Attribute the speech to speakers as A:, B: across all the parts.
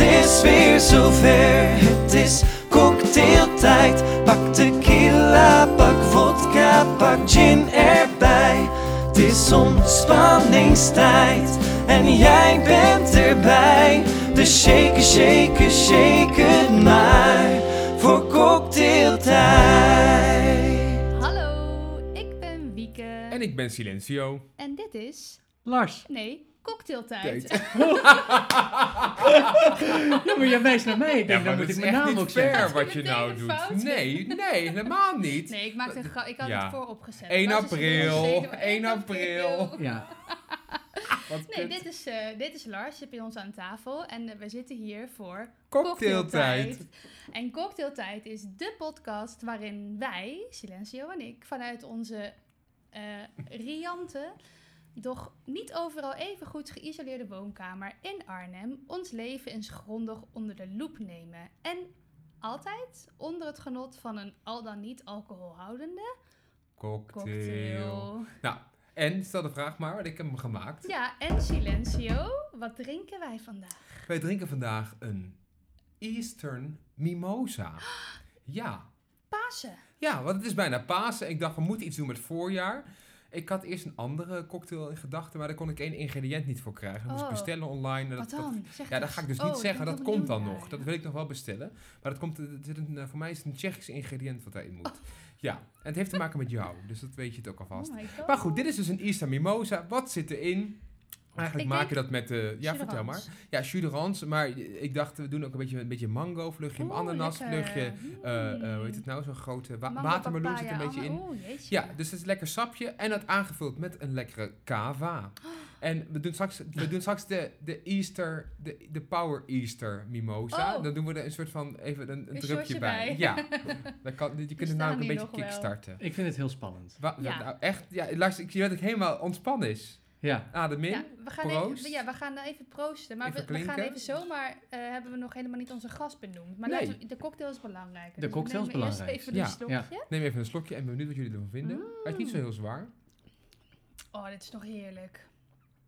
A: is weer zover. Het is cocktailtijd. Pak tequila, pak vodka, pak gin erbij. Het is ontspanningstijd en jij bent erbij. Dus shake, shake, shake het maar voor cocktailtijd.
B: Hallo, ik ben Wieke. En,
C: En ik ben Silencio.
B: dit is.
D: Lars.
B: Nee, cocktailtijd.
D: Ja, maar jij wijst naar mij. Ik denk, dan moet ik
C: is
D: mijn
C: echt
D: naam
C: niet
D: ook
C: fair
D: zeggen.
C: wat je
B: Meteen
C: nou
B: een
C: doet.
B: fout.
C: Nee, nee, helemaal niet.
B: Nee, ik maakte een grap. Ik had
C: Ja.
B: het voorop gezet.
C: 1
B: Lars is
C: april,
B: weer zeker-
C: 1 april.
D: Ja,
C: Wat
B: Nee,
C: kut.
B: dit is, eh, dit is Lars. Je bij ons aan tafel. En eh, we zitten hier voor
C: Cocktailtijd.
B: En Cocktailtijd is de podcast waarin wij, Silencio en ik, vanuit onze eh, riante, doch niet overal even goed geïsoleerde woonkamer in Arnhem, ons leven eens grondig onder de loep nemen. En altijd onder het genot van een al dan niet alcoholhoudende
C: Cocktail.
B: cocktail.
C: Nou, en stel de vraag maar, want ik heb hem gemaakt.
B: Ja, en Silencio, wat drinken wij vandaag?
C: Wij drinken vandaag een Eastern Mimosa. Ja,
B: Pasen.
C: ja, want het is bijna Pasen. Ik dacht, we moeten iets doen met voorjaar. Ik had eerst een andere cocktail in gedachten, maar daar kon ik één ingrediënt niet voor krijgen. Dat moest ik
B: Oh.
C: bestellen online. en
B: Wat
C: dat- dat-
B: dan? Zeg
C: Ja, dat
B: eens.
C: ga ik dus
B: Oh,
C: niet
B: ik
C: zeggen.
B: ben
C: Dat
B: heel
C: komt dan
B: benieuwd
C: nog.
B: naar.
C: Dat wil ik nog wel bestellen. Maar dat komt, er zit een, eh, voor mij is het een Tsjechisch ingrediënt wat daarin moet. Ja, en het heeft te maken met jou. Dus dat weet je het ook alvast.
B: Oh my god.
C: maar goed, dit is dus een Easter Mimosa. Wat zit erin? Eigenlijk
B: Ik
C: maak je
B: denk
C: dat met... eh ja, vertel maar.
B: Chilerans.
C: Ja, jus de rance, Maar ik dacht, we doen ook een beetje een beetje mango vluchtje, een
B: Oeh,
C: ananas
B: lekker. Mm.
C: vluchtje. eh, eh, hoe heet het nou? Zo'n grote wa- watermeloen zit er een beetje in.
B: Oh,
C: Ja, dus het is lekker sapje en dat aangevuld met een lekkere cava. En we doen straks, we doen straks de, de Easter, de, de Power Easter mimosa.
B: Oh.
C: Dan doen we er een soort van even een, een
B: Een
C: drupje
B: shotje
C: bij.
B: bij.
C: Ja, dan kan, je kunt het
B: staan hier
C: namelijk een beetje
B: nog wel.
C: kickstarten.
D: ik vind het heel spannend.
C: Wa-
B: Ja.
C: nou, echt, ja, luister, ik zie dat ik helemaal ontspannen is.
D: Ja,
C: Adem in.
B: ja, we gaan
C: proost.
B: Even, ja, we gaan daar even proosten. Maar we,
C: Even
B: we gaan
C: klinken.
B: even zomaar, eh, hebben we nog helemaal niet onze gast benoemd. Maar
C: Nee.
B: laten we- de cocktail is belangrijk. Dus
D: De cocktail is belangrijk.
B: Eerst even een
C: Ja.
B: slokje.
C: Neem even een slokje en ik ben benieuwd wat jullie ervan vinden.
B: Mm.
C: Hij is niet zo heel zwaar.
B: Oh, dit is toch heerlijk.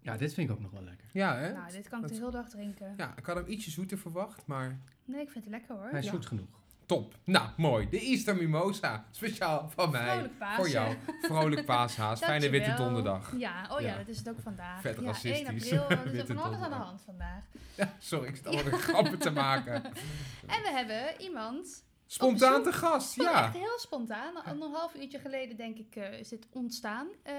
D: ja dit vind ik ook nog wel lekker.
C: Ja, hè?
B: Nou, dit kan ik
C: Dat-
B: de hele dag drinken.
C: Ja, ik had hem ietsje zoeter verwacht, maar
B: Nee, ik vind het lekker hoor.
D: Hij is
C: Ja.
D: zoet genoeg.
C: top. Nou, mooi. De Easter mimosa. Speciaal van mij.
B: Vrolijk Pasen.
C: Voor jou. Vrolijk paashaas. Fijne
B: Dankjewel.
C: witte donderdag.
B: Ja, oh ja,
C: Ja.
B: dat is het ook vandaag.
C: Vet
B: ja, 1
C: racistisch.
B: april, er is
C: Witte
B: van alles aan de
C: donderdag.
B: hand vandaag.
C: Sorry, ik zit allemaal weer grappen te maken.
B: En we hebben iemand
C: Spontaan
B: bezoek.
C: te gast,
B: Ja.
C: ja.
B: Oh, Echt heel spontaan. Al een half uurtje geleden, denk ik, eh, is dit ontstaan. Eh,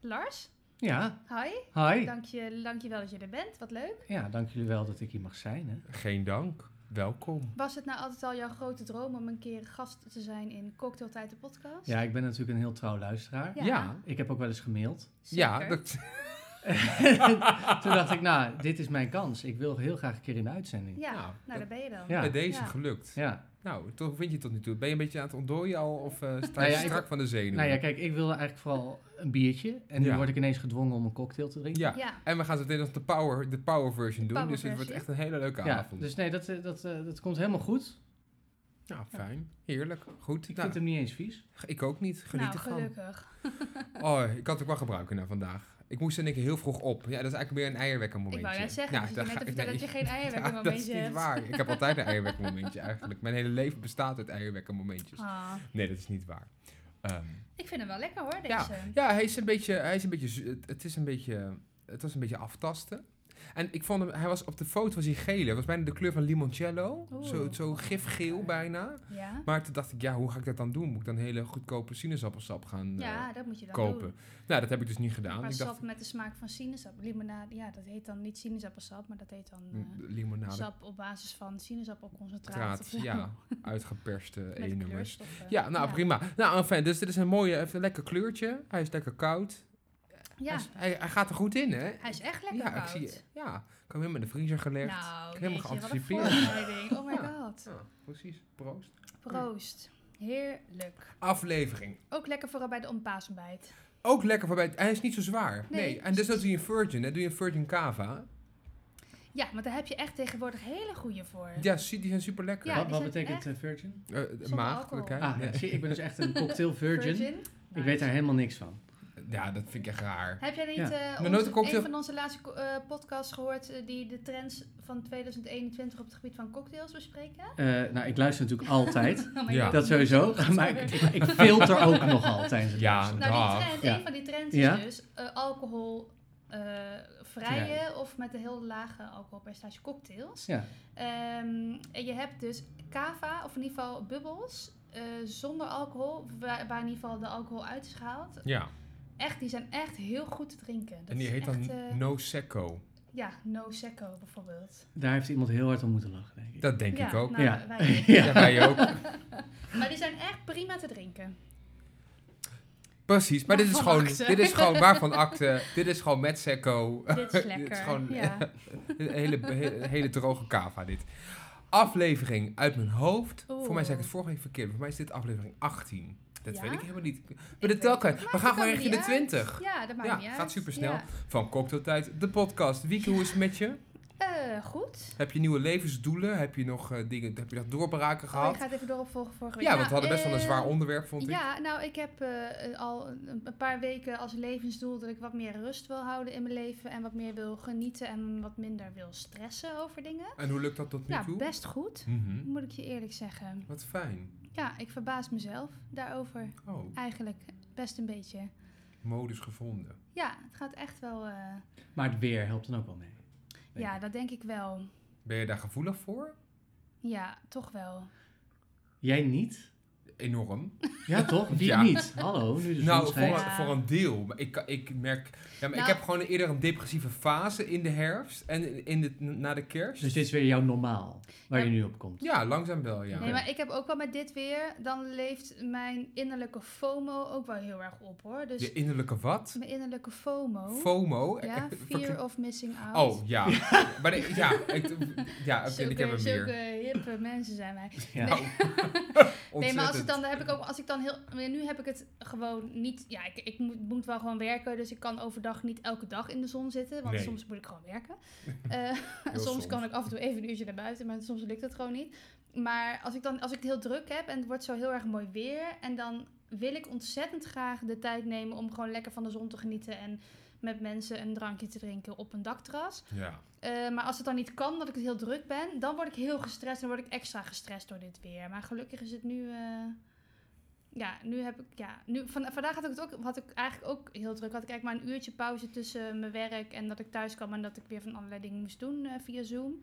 B: Lars,
D: Ja,
B: hi.
D: hi.
B: Dank je, dank je wel dat je er bent. Wat leuk.
D: Ja, dank jullie wel dat ik hier mag zijn. Hè.
C: Geen dank. Welkom.
B: Was het nou altijd al jouw grote droom om een keer gast te zijn in Cocktailtijd de podcast?
D: Ja, ik ben natuurlijk een heel trouw luisteraar.
B: Ja,
C: Ja, ja,
D: Ik heb ook wel eens gemaild.
B: zeker.
C: dat,
D: Toen dacht ik, nou, dit is mijn kans. Ik wil heel graag een keer in de uitzending.
B: Ja,
C: Nou,
B: nou, daar ben je dan.
D: Ja.
C: bij deze
B: Ja.
C: gelukt.
D: Ja.
C: Nou, toch, hoe vind je het tot nu toe? Ben je een beetje aan het ontdooien al of eh, sta
D: Nou
C: je
D: ja, ik-
C: strak van de zenuwen?
D: Nou ja, kijk, ik wilde eigenlijk vooral een biertje. En nu
C: Ja.
D: word ik ineens gedwongen om een cocktail te drinken.
C: Ja,
B: Ja.
C: en we gaan zo meteen nog de power, de power version doen,
B: Power
C: dus het wordt
B: versie.
C: echt een hele leuke
D: Ja,
C: avond.
D: dus nee, dat, eh, dat, eh, dat komt helemaal goed.
C: Nou, fijn. Heerlijk. Goed.
D: Ik
C: Nou,
D: vind hem niet eens vies.
C: ik ook niet. Geniet
B: nou,
C: ervan.
B: gelukkig.
C: Oh, ik had het ook wel gebruiken nou, vandaag. Ik moest in één keer heel vroeg op. Ja, dat is eigenlijk meer een eierwekkermomentje.
B: Ik wou net zeggen,
C: Nou,
B: dat je
C: daar
B: net
C: ga
B: te
C: ik-
B: vertellen dat je
C: nee,
B: geen
C: ja,
B: eierwerk
C: dat is
B: momentje
C: niet
B: hebt.
C: waar. Ik heb altijd een eierwekkermomentje eigenlijk. Mijn hele leven bestaat uit eierwekkermomentjes.
B: Ah,
C: Nee, dat is niet waar. Ehm,
B: ik vind hem wel lekker hoor,
C: Ja.
B: deze.
C: ja, hij is een beetje, hij is een beetje, zu- het, het is een beetje, het was een beetje aftasten. En ik vond hem, hij was op de foto was hij geel. Hij was bijna de kleur van limoncello.
B: Oeh. Oh,
C: Zo, zo gifgeel bijna.
B: Ja.
C: Maar toen dacht ik, ja, hoe ga ik dat dan doen? Moet ik dan hele goedkope sinaasappelsap gaan eh,
B: Ja, dat moet je dan
C: kopen?
B: doen.
C: Nou, dat heb ik dus niet gedaan.
B: Maar
C: ik
B: sap
C: dacht,
B: met de smaak van sinaasappel. Limonade, ja, dat heet dan niet sinaasappelsap, maar dat heet dan... eh,
C: mm, limonade
B: Sap op basis van sinaasappelconcentraat. of
C: Traat,
B: zo.
C: ja, uitgeperste
B: Met
C: E-nummers.
B: kleurstoffen.
C: Ja, nou prima. Nou, enfin, dus dit is een mooie, heeft een lekker kleurtje. Hij is lekker koud.
B: Ja,
C: Hij, is- hij, hij gaat er goed in, hè?
B: hij is echt lekker
C: ja,
B: koud.
C: ik zie je. Ja, ik heb hem helemaal in de vriezer gelegd.
B: Nou,
C: ik heb hem
B: jeetje, wat een
C: geanticipeerd.
B: voorbereiding. Oh my
C: Ja.
B: god.
C: Ja, precies. Proost.
B: Proost. Heerlijk.
C: Aflevering.
B: Ook lekker vooral bij de ontpaasontbijt.
C: Ook lekker voorbij. Hij is niet zo zwaar. Nee.
B: Nee,
C: En dus dat doe je een Virgin, hè? Doe je een Virgin Cava.
B: Ja, want daar heb je echt tegenwoordig hele goede voor.
C: Ja, su- die zijn super lekker.
B: Ja,
D: wat
B: die
D: wat
B: zijn
D: betekent
B: echt
D: eh, virgin?
C: maagdelijkheid.
D: Ah,
C: Nee.
D: zie, ik ben dus echt een cocktail virgin. Ik weet daar helemaal niks van.
C: ja, dat vind ik echt raar.
B: Heb jij niet
D: Ja.
B: eh,
C: De
B: ons-
C: notencocktail-
B: een van onze laatste co- eh, podcasts gehoord eh, die de trends van 2021 op het gebied van cocktails bespreken?
D: Eh, nou, ik luister natuurlijk altijd.
B: Oh my
C: Ja.
B: god.
D: Dat sowieso. Maar ik, ik, ik filter ook nog altijd.
C: Ja,
B: Nou, die
C: dag.
B: trend,
D: Ja.
B: een van die trends
D: Ja.
B: is dus eh, alcoholvrije of met een heel lage alcoholpercentage cocktails.
D: Ja.
B: Ehm, en je hebt dus cava, of in ieder geval bubbels, eh, zonder alcohol, waar, waar in ieder geval de alcohol uit is gehaald.
C: Ja,
B: Echt, die zijn echt heel goed te drinken. Dat
C: en die
B: is
C: heet dan
B: echt, eh,
C: No Secco.
B: ja, no secco bijvoorbeeld.
D: Daar heeft iemand heel hard om moeten lachen, denk ik.
C: Dat denk
B: ja,
C: ik ook.
B: nou,
D: Ja.
B: wij-
D: Ja.
C: Ja, wij ook.
B: maar die zijn echt prima te drinken.
C: Precies, maar dit is,
B: Waarvan
C: gewoon,
B: acte.
C: dit is gewoon waarvan acte. Dit is gewoon met Secco.
B: Dit is
C: Dit is
B: lekker.
C: gewoon-
B: ja.
C: Een hele, he- hele droge kava dit. Aflevering uit mijn hoofd.
B: Oeh.
C: Voor mij zei ik het vorige week verkeerd. maar Voor mij is dit aflevering 18. Dat
B: Ja?
C: weet ik helemaal niet.
B: Ik
C: Maar
B: weet
C: de telkens.
B: het.
C: We
B: Maakt
C: gaan gewoon
B: ook
C: richting
B: niet
C: de
B: uit.
C: 20.
B: Ja, dat maakt
C: Ja,
B: niet uit.
C: gaat supersnel.
B: Ja.
C: Van Cocktailtijd, de podcast. Wieke, hoe is het met je?
B: Eh, goed.
C: Heb je nieuwe levensdoelen? Heb je nog eh, dingen, heb je nog doorbraken
B: Oh, ik
C: gehad?
B: ga het even dooropvolgen vorige week.
C: ja, want
B: Nou,
C: we hadden best wel een
B: eh,
C: zwaar onderwerp, vond ik.
B: Ja, nou, ik heb eh, eh, al een, een paar weken als levensdoel dat ik wat meer rust wil houden in mijn leven. En wat meer wil genieten en wat minder wil stressen over dingen.
C: En hoe lukt dat tot nu
B: Nou,
C: toe?
B: best goed.
C: Mhm.
B: Moet ik je eerlijk zeggen.
C: Wat fijn.
B: Ja, ik verbaas mezelf daarover
C: Oh,
B: eigenlijk best een beetje.
C: modus gevonden.
B: Ja, het gaat echt wel. eh,
D: Maar het weer helpt dan ook wel mee. Denk
B: ja,
D: ik.
B: dat denk ik wel.
C: Ben je daar gevoelig voor?
B: Ja, toch wel.
D: Jij niet?
C: Enorm.
D: Ja, toch? Wie
C: Ja.
D: niet? Hallo, nu dus de zon
C: Nou, voor,
D: schijnt.
B: Ja.
C: voor een deel. Maar ik, ik merk... Ja, maar
B: Nou.
C: ik heb gewoon eerder een depressieve fase in de herfst en in de, na de kerst.
D: Dus dit is weer jouw normaal, waar
B: Ja.
D: je nu op komt.
C: Ja, langzaam wel, ja.
B: Nee, maar ik heb ook wel met dit weer. Dan leeft mijn innerlijke FOMO ook wel heel erg op hoor. Dus
C: Je innerlijke wat?
B: mijn innerlijke FOMO.
C: FOMO?
B: ja, fear of missing out.
C: Oh, ja. maar de- ja, ik, ja oké, ik heb
B: zulke,
C: hem
B: zulke
C: weer.
B: hippe mensen zijn wij.
D: Ja.
B: Nee. Nee, maar als,
C: Ontzettend.
B: ik dan, dan heb ik ook, als ik dan heel... Nu heb ik het gewoon niet... Ja, ik, ik moet, moet wel gewoon werken. Dus ik kan overdag niet elke dag in de zon zitten. Want
C: Nee.
B: soms moet ik gewoon werken. Eh, soms,
C: soms.
B: kan ik af en toe even een uurtje naar buiten. Maar soms lukt dat gewoon niet. Maar als ik, dan, als ik het heel druk heb en het wordt zo heel erg mooi weer... En dan wil ik ontzettend graag de tijd nemen om gewoon lekker van de zon te genieten. En met mensen een drankje te drinken op een dakterras.
C: Ja.
B: Eh, maar als het dan niet kan, dat ik het heel druk ben, dan word ik heel gestrest en word ik extra gestrest door dit weer. Maar gelukkig is het nu. eh, ja, nu heb ik. Ja, nu, van, vandaag had ik het ook, had ik eigenlijk ook heel druk. Had ik eigenlijk maar een uurtje pauze tussen mijn werk en dat ik thuis kwam en dat ik weer van allerlei dingen moest doen eh, via Zoom.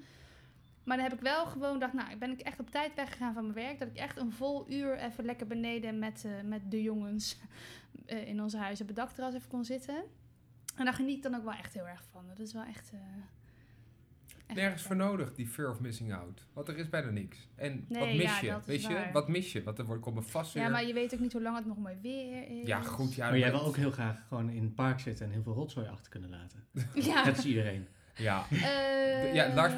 B: Maar dan heb ik wel gewoon gedacht, nou, ben ik echt op tijd weggegaan van mijn werk. Dat ik echt een vol uur even lekker beneden met, eh, met de jongens eh, in ons huis op het dakterras even kon zitten. En daar geniet ik dan ook wel echt heel erg van. Dat is wel echt... eh, echt
C: Nergens voor
B: lekker.
C: nodig, die fear of missing out. Want er is bijna niks. En wat
B: Nee,
C: mis
B: ja,
C: je?
B: dat is
C: Weet je?
B: waar.
C: Wat mis je? Want er wordt komen vast
B: Ja,
C: weer-
B: maar je weet ook niet hoe lang het nog mooi weer is.
C: Ja, goed. Ja,
D: Maar jij wil
C: maar-
D: ook heel graag gewoon in het park zitten en heel veel rotzooi achter kunnen laten.
B: ja,
D: Dat is iedereen.
C: Ja.
B: eh,
C: Ja, Lars,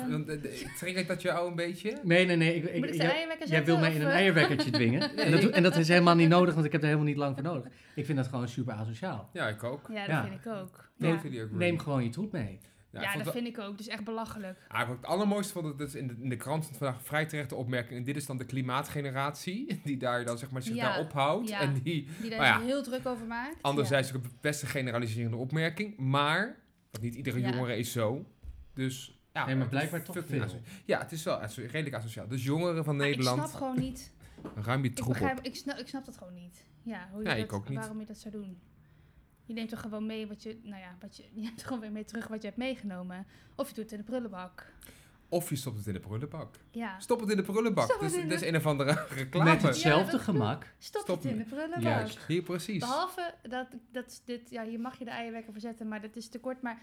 C: triggert dat jou een beetje?
D: Nee, nee, nee. Ik, ik-
B: Moet ik
D: jij-
B: zijn eierwekker
D: jij wil
B: zetten,
D: mij
B: of,
D: in een
B: eh?
D: eierwekkertje dwingen. En dat, en dat is helemaal niet nodig, want ik heb er helemaal niet lang voor nodig. Ik vind dat gewoon super asociaal.
C: Ja, ik ook.
B: Ja, dat
D: Ja.
B: vind ik ook. Ja,
C: Totally agree.
D: Neem gewoon je troep mee.
B: ja,
C: ik vond
B: dat
C: wel-
B: vind ik ook. Dus echt belachelijk.
C: Ah, wat ik het allermooiste vond, dat is in de, in de krant stond vandaag een vrij terechte opmerking. En dit is dan de klimaatgeneratie, die daar dan zeg maar zich
B: Ja,
C: daar ophoudt.
B: ja.
C: En die
B: Die daar
C: Maar ja,
B: heel druk over maakt.
C: anderzijds ook een beste generaliserende opmerking. Maar, want niet iedere
B: Ja.
C: jongere is zo. Dus ja.
D: Nee, maar
C: eh,
D: blijkbaar toch
C: fucking
D: veel.
C: aso- Ja, het is wel aso- redelijk asociaal. Dus jongeren van
B: Maar Ik
C: Nederland,
B: snap gewoon niet...
C: ruim je
B: Ik,
C: troep op.
B: begrijp, ik, snap, ik snap dat gewoon niet. Ja, hoe je
C: Ja,
B: dat,
C: ik ook niet.
B: waarom je dat zou doen. Je neemt toch gewoon mee wat je, nou ja, wat je, je neemt gewoon weer mee terug wat je hebt meegenomen. Of je doet het in de prullenbak.
C: Of je stopt het in de prullenbak.
B: Ja.
C: Stop het in de prullenbak.
B: Stop
C: Dat
B: het
C: is,
B: in
C: dat
B: de-
C: is een of andere
D: Met
C: reclame.
B: het-
D: hetzelfde
B: Ja, dat-
D: gemak.
B: Stop,
C: Stop
B: het in
C: me.
B: de prullenbak.
D: Juist.
C: Hier precies.
B: Behalve dat, dat is dit, ja, hier mag je de eierwekker voor zetten, maar dat is te kort. Maar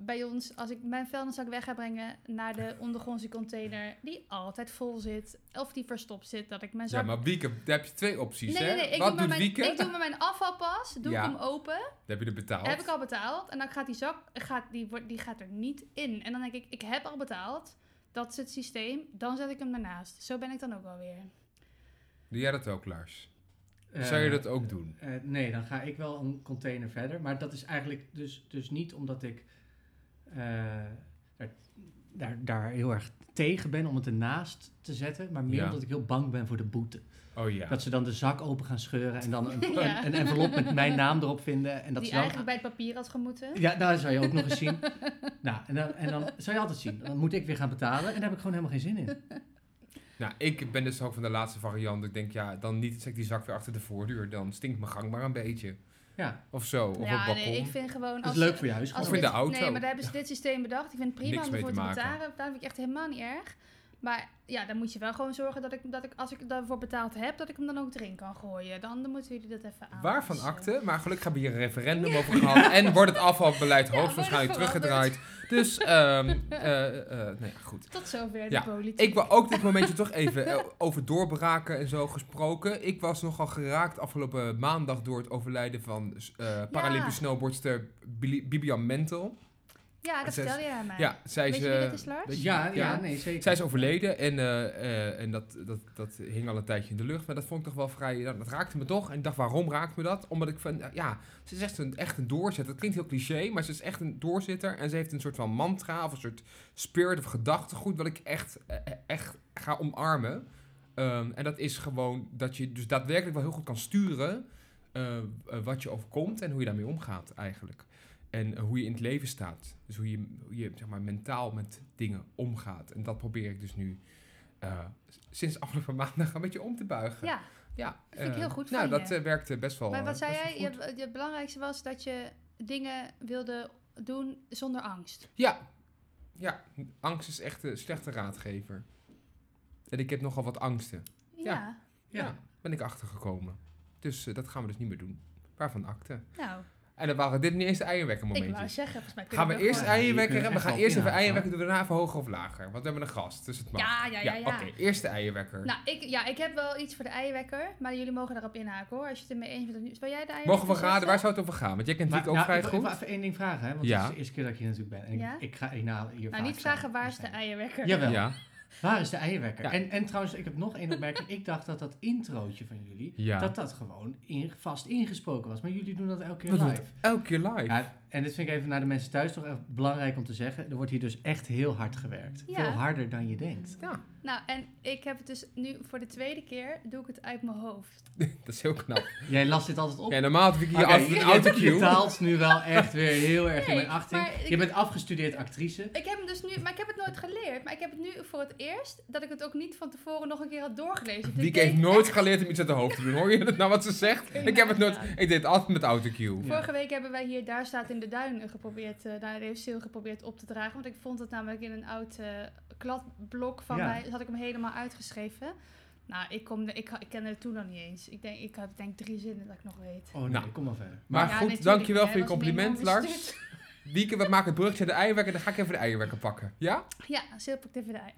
B: bij ons, als ik mijn vuilniszak weg ga brengen naar de ondergrondse container, die altijd vol zit, of die verstopt zit, dat ik mijn zak...
C: Ja, maar Wieke, daar heb je twee opties,
B: nee, nee,
C: hè?
B: nee, ik, doe
C: Wat
B: maar
C: doet
B: mijn,
C: Wieke?
B: ik doe maar mijn afvalpas, doe
C: Ja.
B: ik hem open,
C: Dan heb je er betaald.
B: Heb ik al betaald. En dan gaat die zak gaat, die, wordt- die gaat er niet in. En dan denk ik, ik heb al betaald. Dat is het systeem. Dan zet ik hem ernaast. Zo ben ik dan ook alweer.
C: Doe jij dat ook, Lars?
D: Eh,
C: Zou je dat ook doen?
D: eh, nee, dan ga ik wel een container verder. Maar dat is eigenlijk dus, dus niet omdat ik eh, er daar, daar heel erg tegen ben om het ernaast te zetten. Maar meer
C: Ja.
D: omdat ik heel bang ben voor de boete.
C: Oh ja.
D: Dat ze dan de zak open gaan scheuren en dan een,
B: Ja.
D: een, een envelop met mijn naam erop vinden. En dat
B: die
D: ze dan
B: eigenlijk bij het papier had gemoeten.
D: Ja, nou, dat zou je ook nog eens zien. Nou, en dan, en dan zou je altijd zien. Dan moet ik weer gaan betalen en daar heb ik gewoon helemaal geen zin in.
C: Nou, ik ben dus ook van de laatste variant. Ik denk, ja, dan niet zet ik die zak weer achter de voordeur. Dan stinkt mijn gang maar een beetje.
D: Ja,
C: Of zo. Of op het
B: ja,
C: balkon.
B: nee, ik vind gewoon...
D: dat
B: Als
D: is leuk voor je
B: Als
D: huisgenoot.
C: Of in
B: dit-
C: de auto.
B: Nee, maar daar hebben ze dit systeem bedacht. Ik vind het prima
C: Niks
B: om
C: mee
B: ervoor
C: te
B: te
C: maken.
B: betalen. Daar vind ik echt helemaal niet erg. Maar ja, dan moet je wel gewoon zorgen dat ik, dat ik als ik daarvoor betaald heb, dat ik hem dan ook erin kan gooien. Dan, dan moeten jullie dat even aan.
C: Waarvan akte, maar gelukkig hebben we hier een referendum over gehad. En wordt het afvalbeleid
B: Ja,
C: hoogstwaarschijnlijk
B: wordt het
C: teruggedraaid. Dus, ehm eh, eh, nee, goed.
B: Tot zover
C: Ja,
B: de politiek.
C: Ik wil ook dit momentje toch even eh, over doorbraken en zo gesproken. Ik was nogal geraakt afgelopen maandag door het overlijden van eh Paralympisch snowboardster Bili- Bibian Mentel.
B: ja, dat
C: Zes-
B: vertel jij aan mij.
C: Ja, zij
B: Weet
C: is,
B: je wie
C: eh,
B: dat is, Lars?
C: weet je-
D: Ja, ja,
C: Ja.
D: nee, zeker.
C: zij is overleden en, eh, eh, en dat, dat, dat hing al een tijdje in de lucht. Maar dat vond ik toch wel vrij... Dat, dat raakte me toch. En ik dacht, waarom raakt me dat? Omdat ik van... eh, Ja, ze is echt een, echt een doorzetter. Dat klinkt heel cliché, maar ze is echt een doorzitter. En ze heeft een soort van mantra of een soort spirit of gedachtegoed... wat ik echt, eh, eh, echt ga omarmen. Ehm, en dat is gewoon dat je dus daadwerkelijk wel heel goed kan sturen... eh, eh, wat je overkomt en hoe je daarmee omgaat eigenlijk. En eh, hoe je in het leven staat. Dus hoe je, hoe je zeg maar, mentaal met dingen omgaat. En dat probeer ik dus nu eh, s- sinds afgelopen maandag een beetje om te buigen.
B: Ja,
C: Ja,
B: vind ik
C: eh,
B: heel goed
C: Nou,
B: van
C: dat
B: je.
C: eh, werkte best wel.
B: maar wat
C: eh,
B: zei
C: best wel
B: jij?
C: goed.
B: Je, het belangrijkste was dat je dingen wilde doen zonder angst.
C: Ja. ja, angst is echt een slechte raadgever. En ik heb nogal wat angsten.
B: Ja.
C: Ja.
D: Ja.
C: ben ik achtergekomen. Dus eh, dat gaan we dus niet meer doen. Waarvan akte.
B: Nou,
C: En dan waren dit niet eens de
B: ik wou
C: eierwekkermomentjes.
B: zeggen, volgens mij kunnen
C: Gaan we
B: dat
C: eerst
B: gewoon-
D: Ja, je kunt
C: eierwekkeren?
D: echt
C: We gaan
D: wel
C: eerst even
D: inhouden,
C: eierwekken doen, daarna even hoger of lager. Want we hebben een gast, dus het mag.
B: Ja, ja, ja. ja.
C: oké. Eerst de eierwekker.
B: Nou, ik, ja, ik heb wel iets voor de eierwekker, maar jullie mogen daarop inhaken hoor. Als je het ermee eens bent, dan wil jij de eierwekker?
C: Mogen we raden waar
B: zetten?
C: zou het over gaan? Want jij kent
D: Maar,
C: Wiek ook
D: nou,
C: vrij
D: ik, wil- Ik wil
C: goed.
D: even één ding vragen, hè, want
C: Ja.
D: het is de eerste keer dat ik hier natuurlijk ben. En ik-
B: Ja?
D: ik, ga ik nou hier
B: Nou,
D: vaak
B: niet vragen
D: zijn.
B: waar is de eierwekker.
D: Jawel,
C: Ja.
D: waar is de eierwekker?
C: Ja.
D: En, en trouwens, ik heb nog één opmerking. ik dacht dat dat introotje van jullie,
C: Ja.
D: dat dat gewoon in, vast ingesproken was. Maar jullie doen dat elke keer
C: Dat doen we
D: live.
C: Elke keer live.
D: Ja, en dit vind ik even naar de mensen thuis toch echt belangrijk om te zeggen. Er wordt hier dus echt heel hard gewerkt.
B: Ja.
D: Veel harder dan je denkt.
C: Ja,
B: Nou, en ik heb het dus nu voor de tweede keer, doe ik het uit mijn hoofd.
C: dat is heel knap.
D: Jij las dit altijd op.
C: Ja, normaal had Wiki hier
D: Oké,
C: altijd een
D: je, je
C: autocue.
D: daalt nu wel echt weer heel erg in
B: Nee,
D: mijn achting.
B: maar ik-
D: Je bent afgestudeerd actrice.
B: Ik heb hem dus nu, maar ik heb het nooit geleerd. Maar ik heb het nu voor het eerst, dat ik het ook niet van tevoren nog een keer had doorgelezen. Dus ik
C: Wieke heeft
B: deed
C: nooit
B: echt-
C: geleerd om iets uit de hoofd te doen. Hoor je dat nou wat ze zegt? Ik heb het nooit... Ik deed het altijd met autocue.
D: Ja.
B: Vorige week hebben wij hier Daar staat in de duin geprobeerd, eh daar heeft Sil geprobeerd op te dragen. Want ik vond het namelijk in een oud eh, kladblok van
D: Ja.
B: mij, had ik hem helemaal uitgeschreven. Nou, ik, kom, ik, ik kende het toen nog niet eens. Ik denk, ik had denk drie zinnen dat ik nog weet.
D: Oh nee,
C: Nou.
D: kom maar verder.
C: Maar
B: Ja,
C: goed,
B: natuurlijk,
C: dankjewel
B: hè,
C: voor je
B: was een
C: compliment,
B: enorme
C: Lars. Wieke, we maken het bruggetje naar de eierwekker. Dan ga ik even de eierwekker pakken. Ja?
B: Ja, Sil pakt even de ei.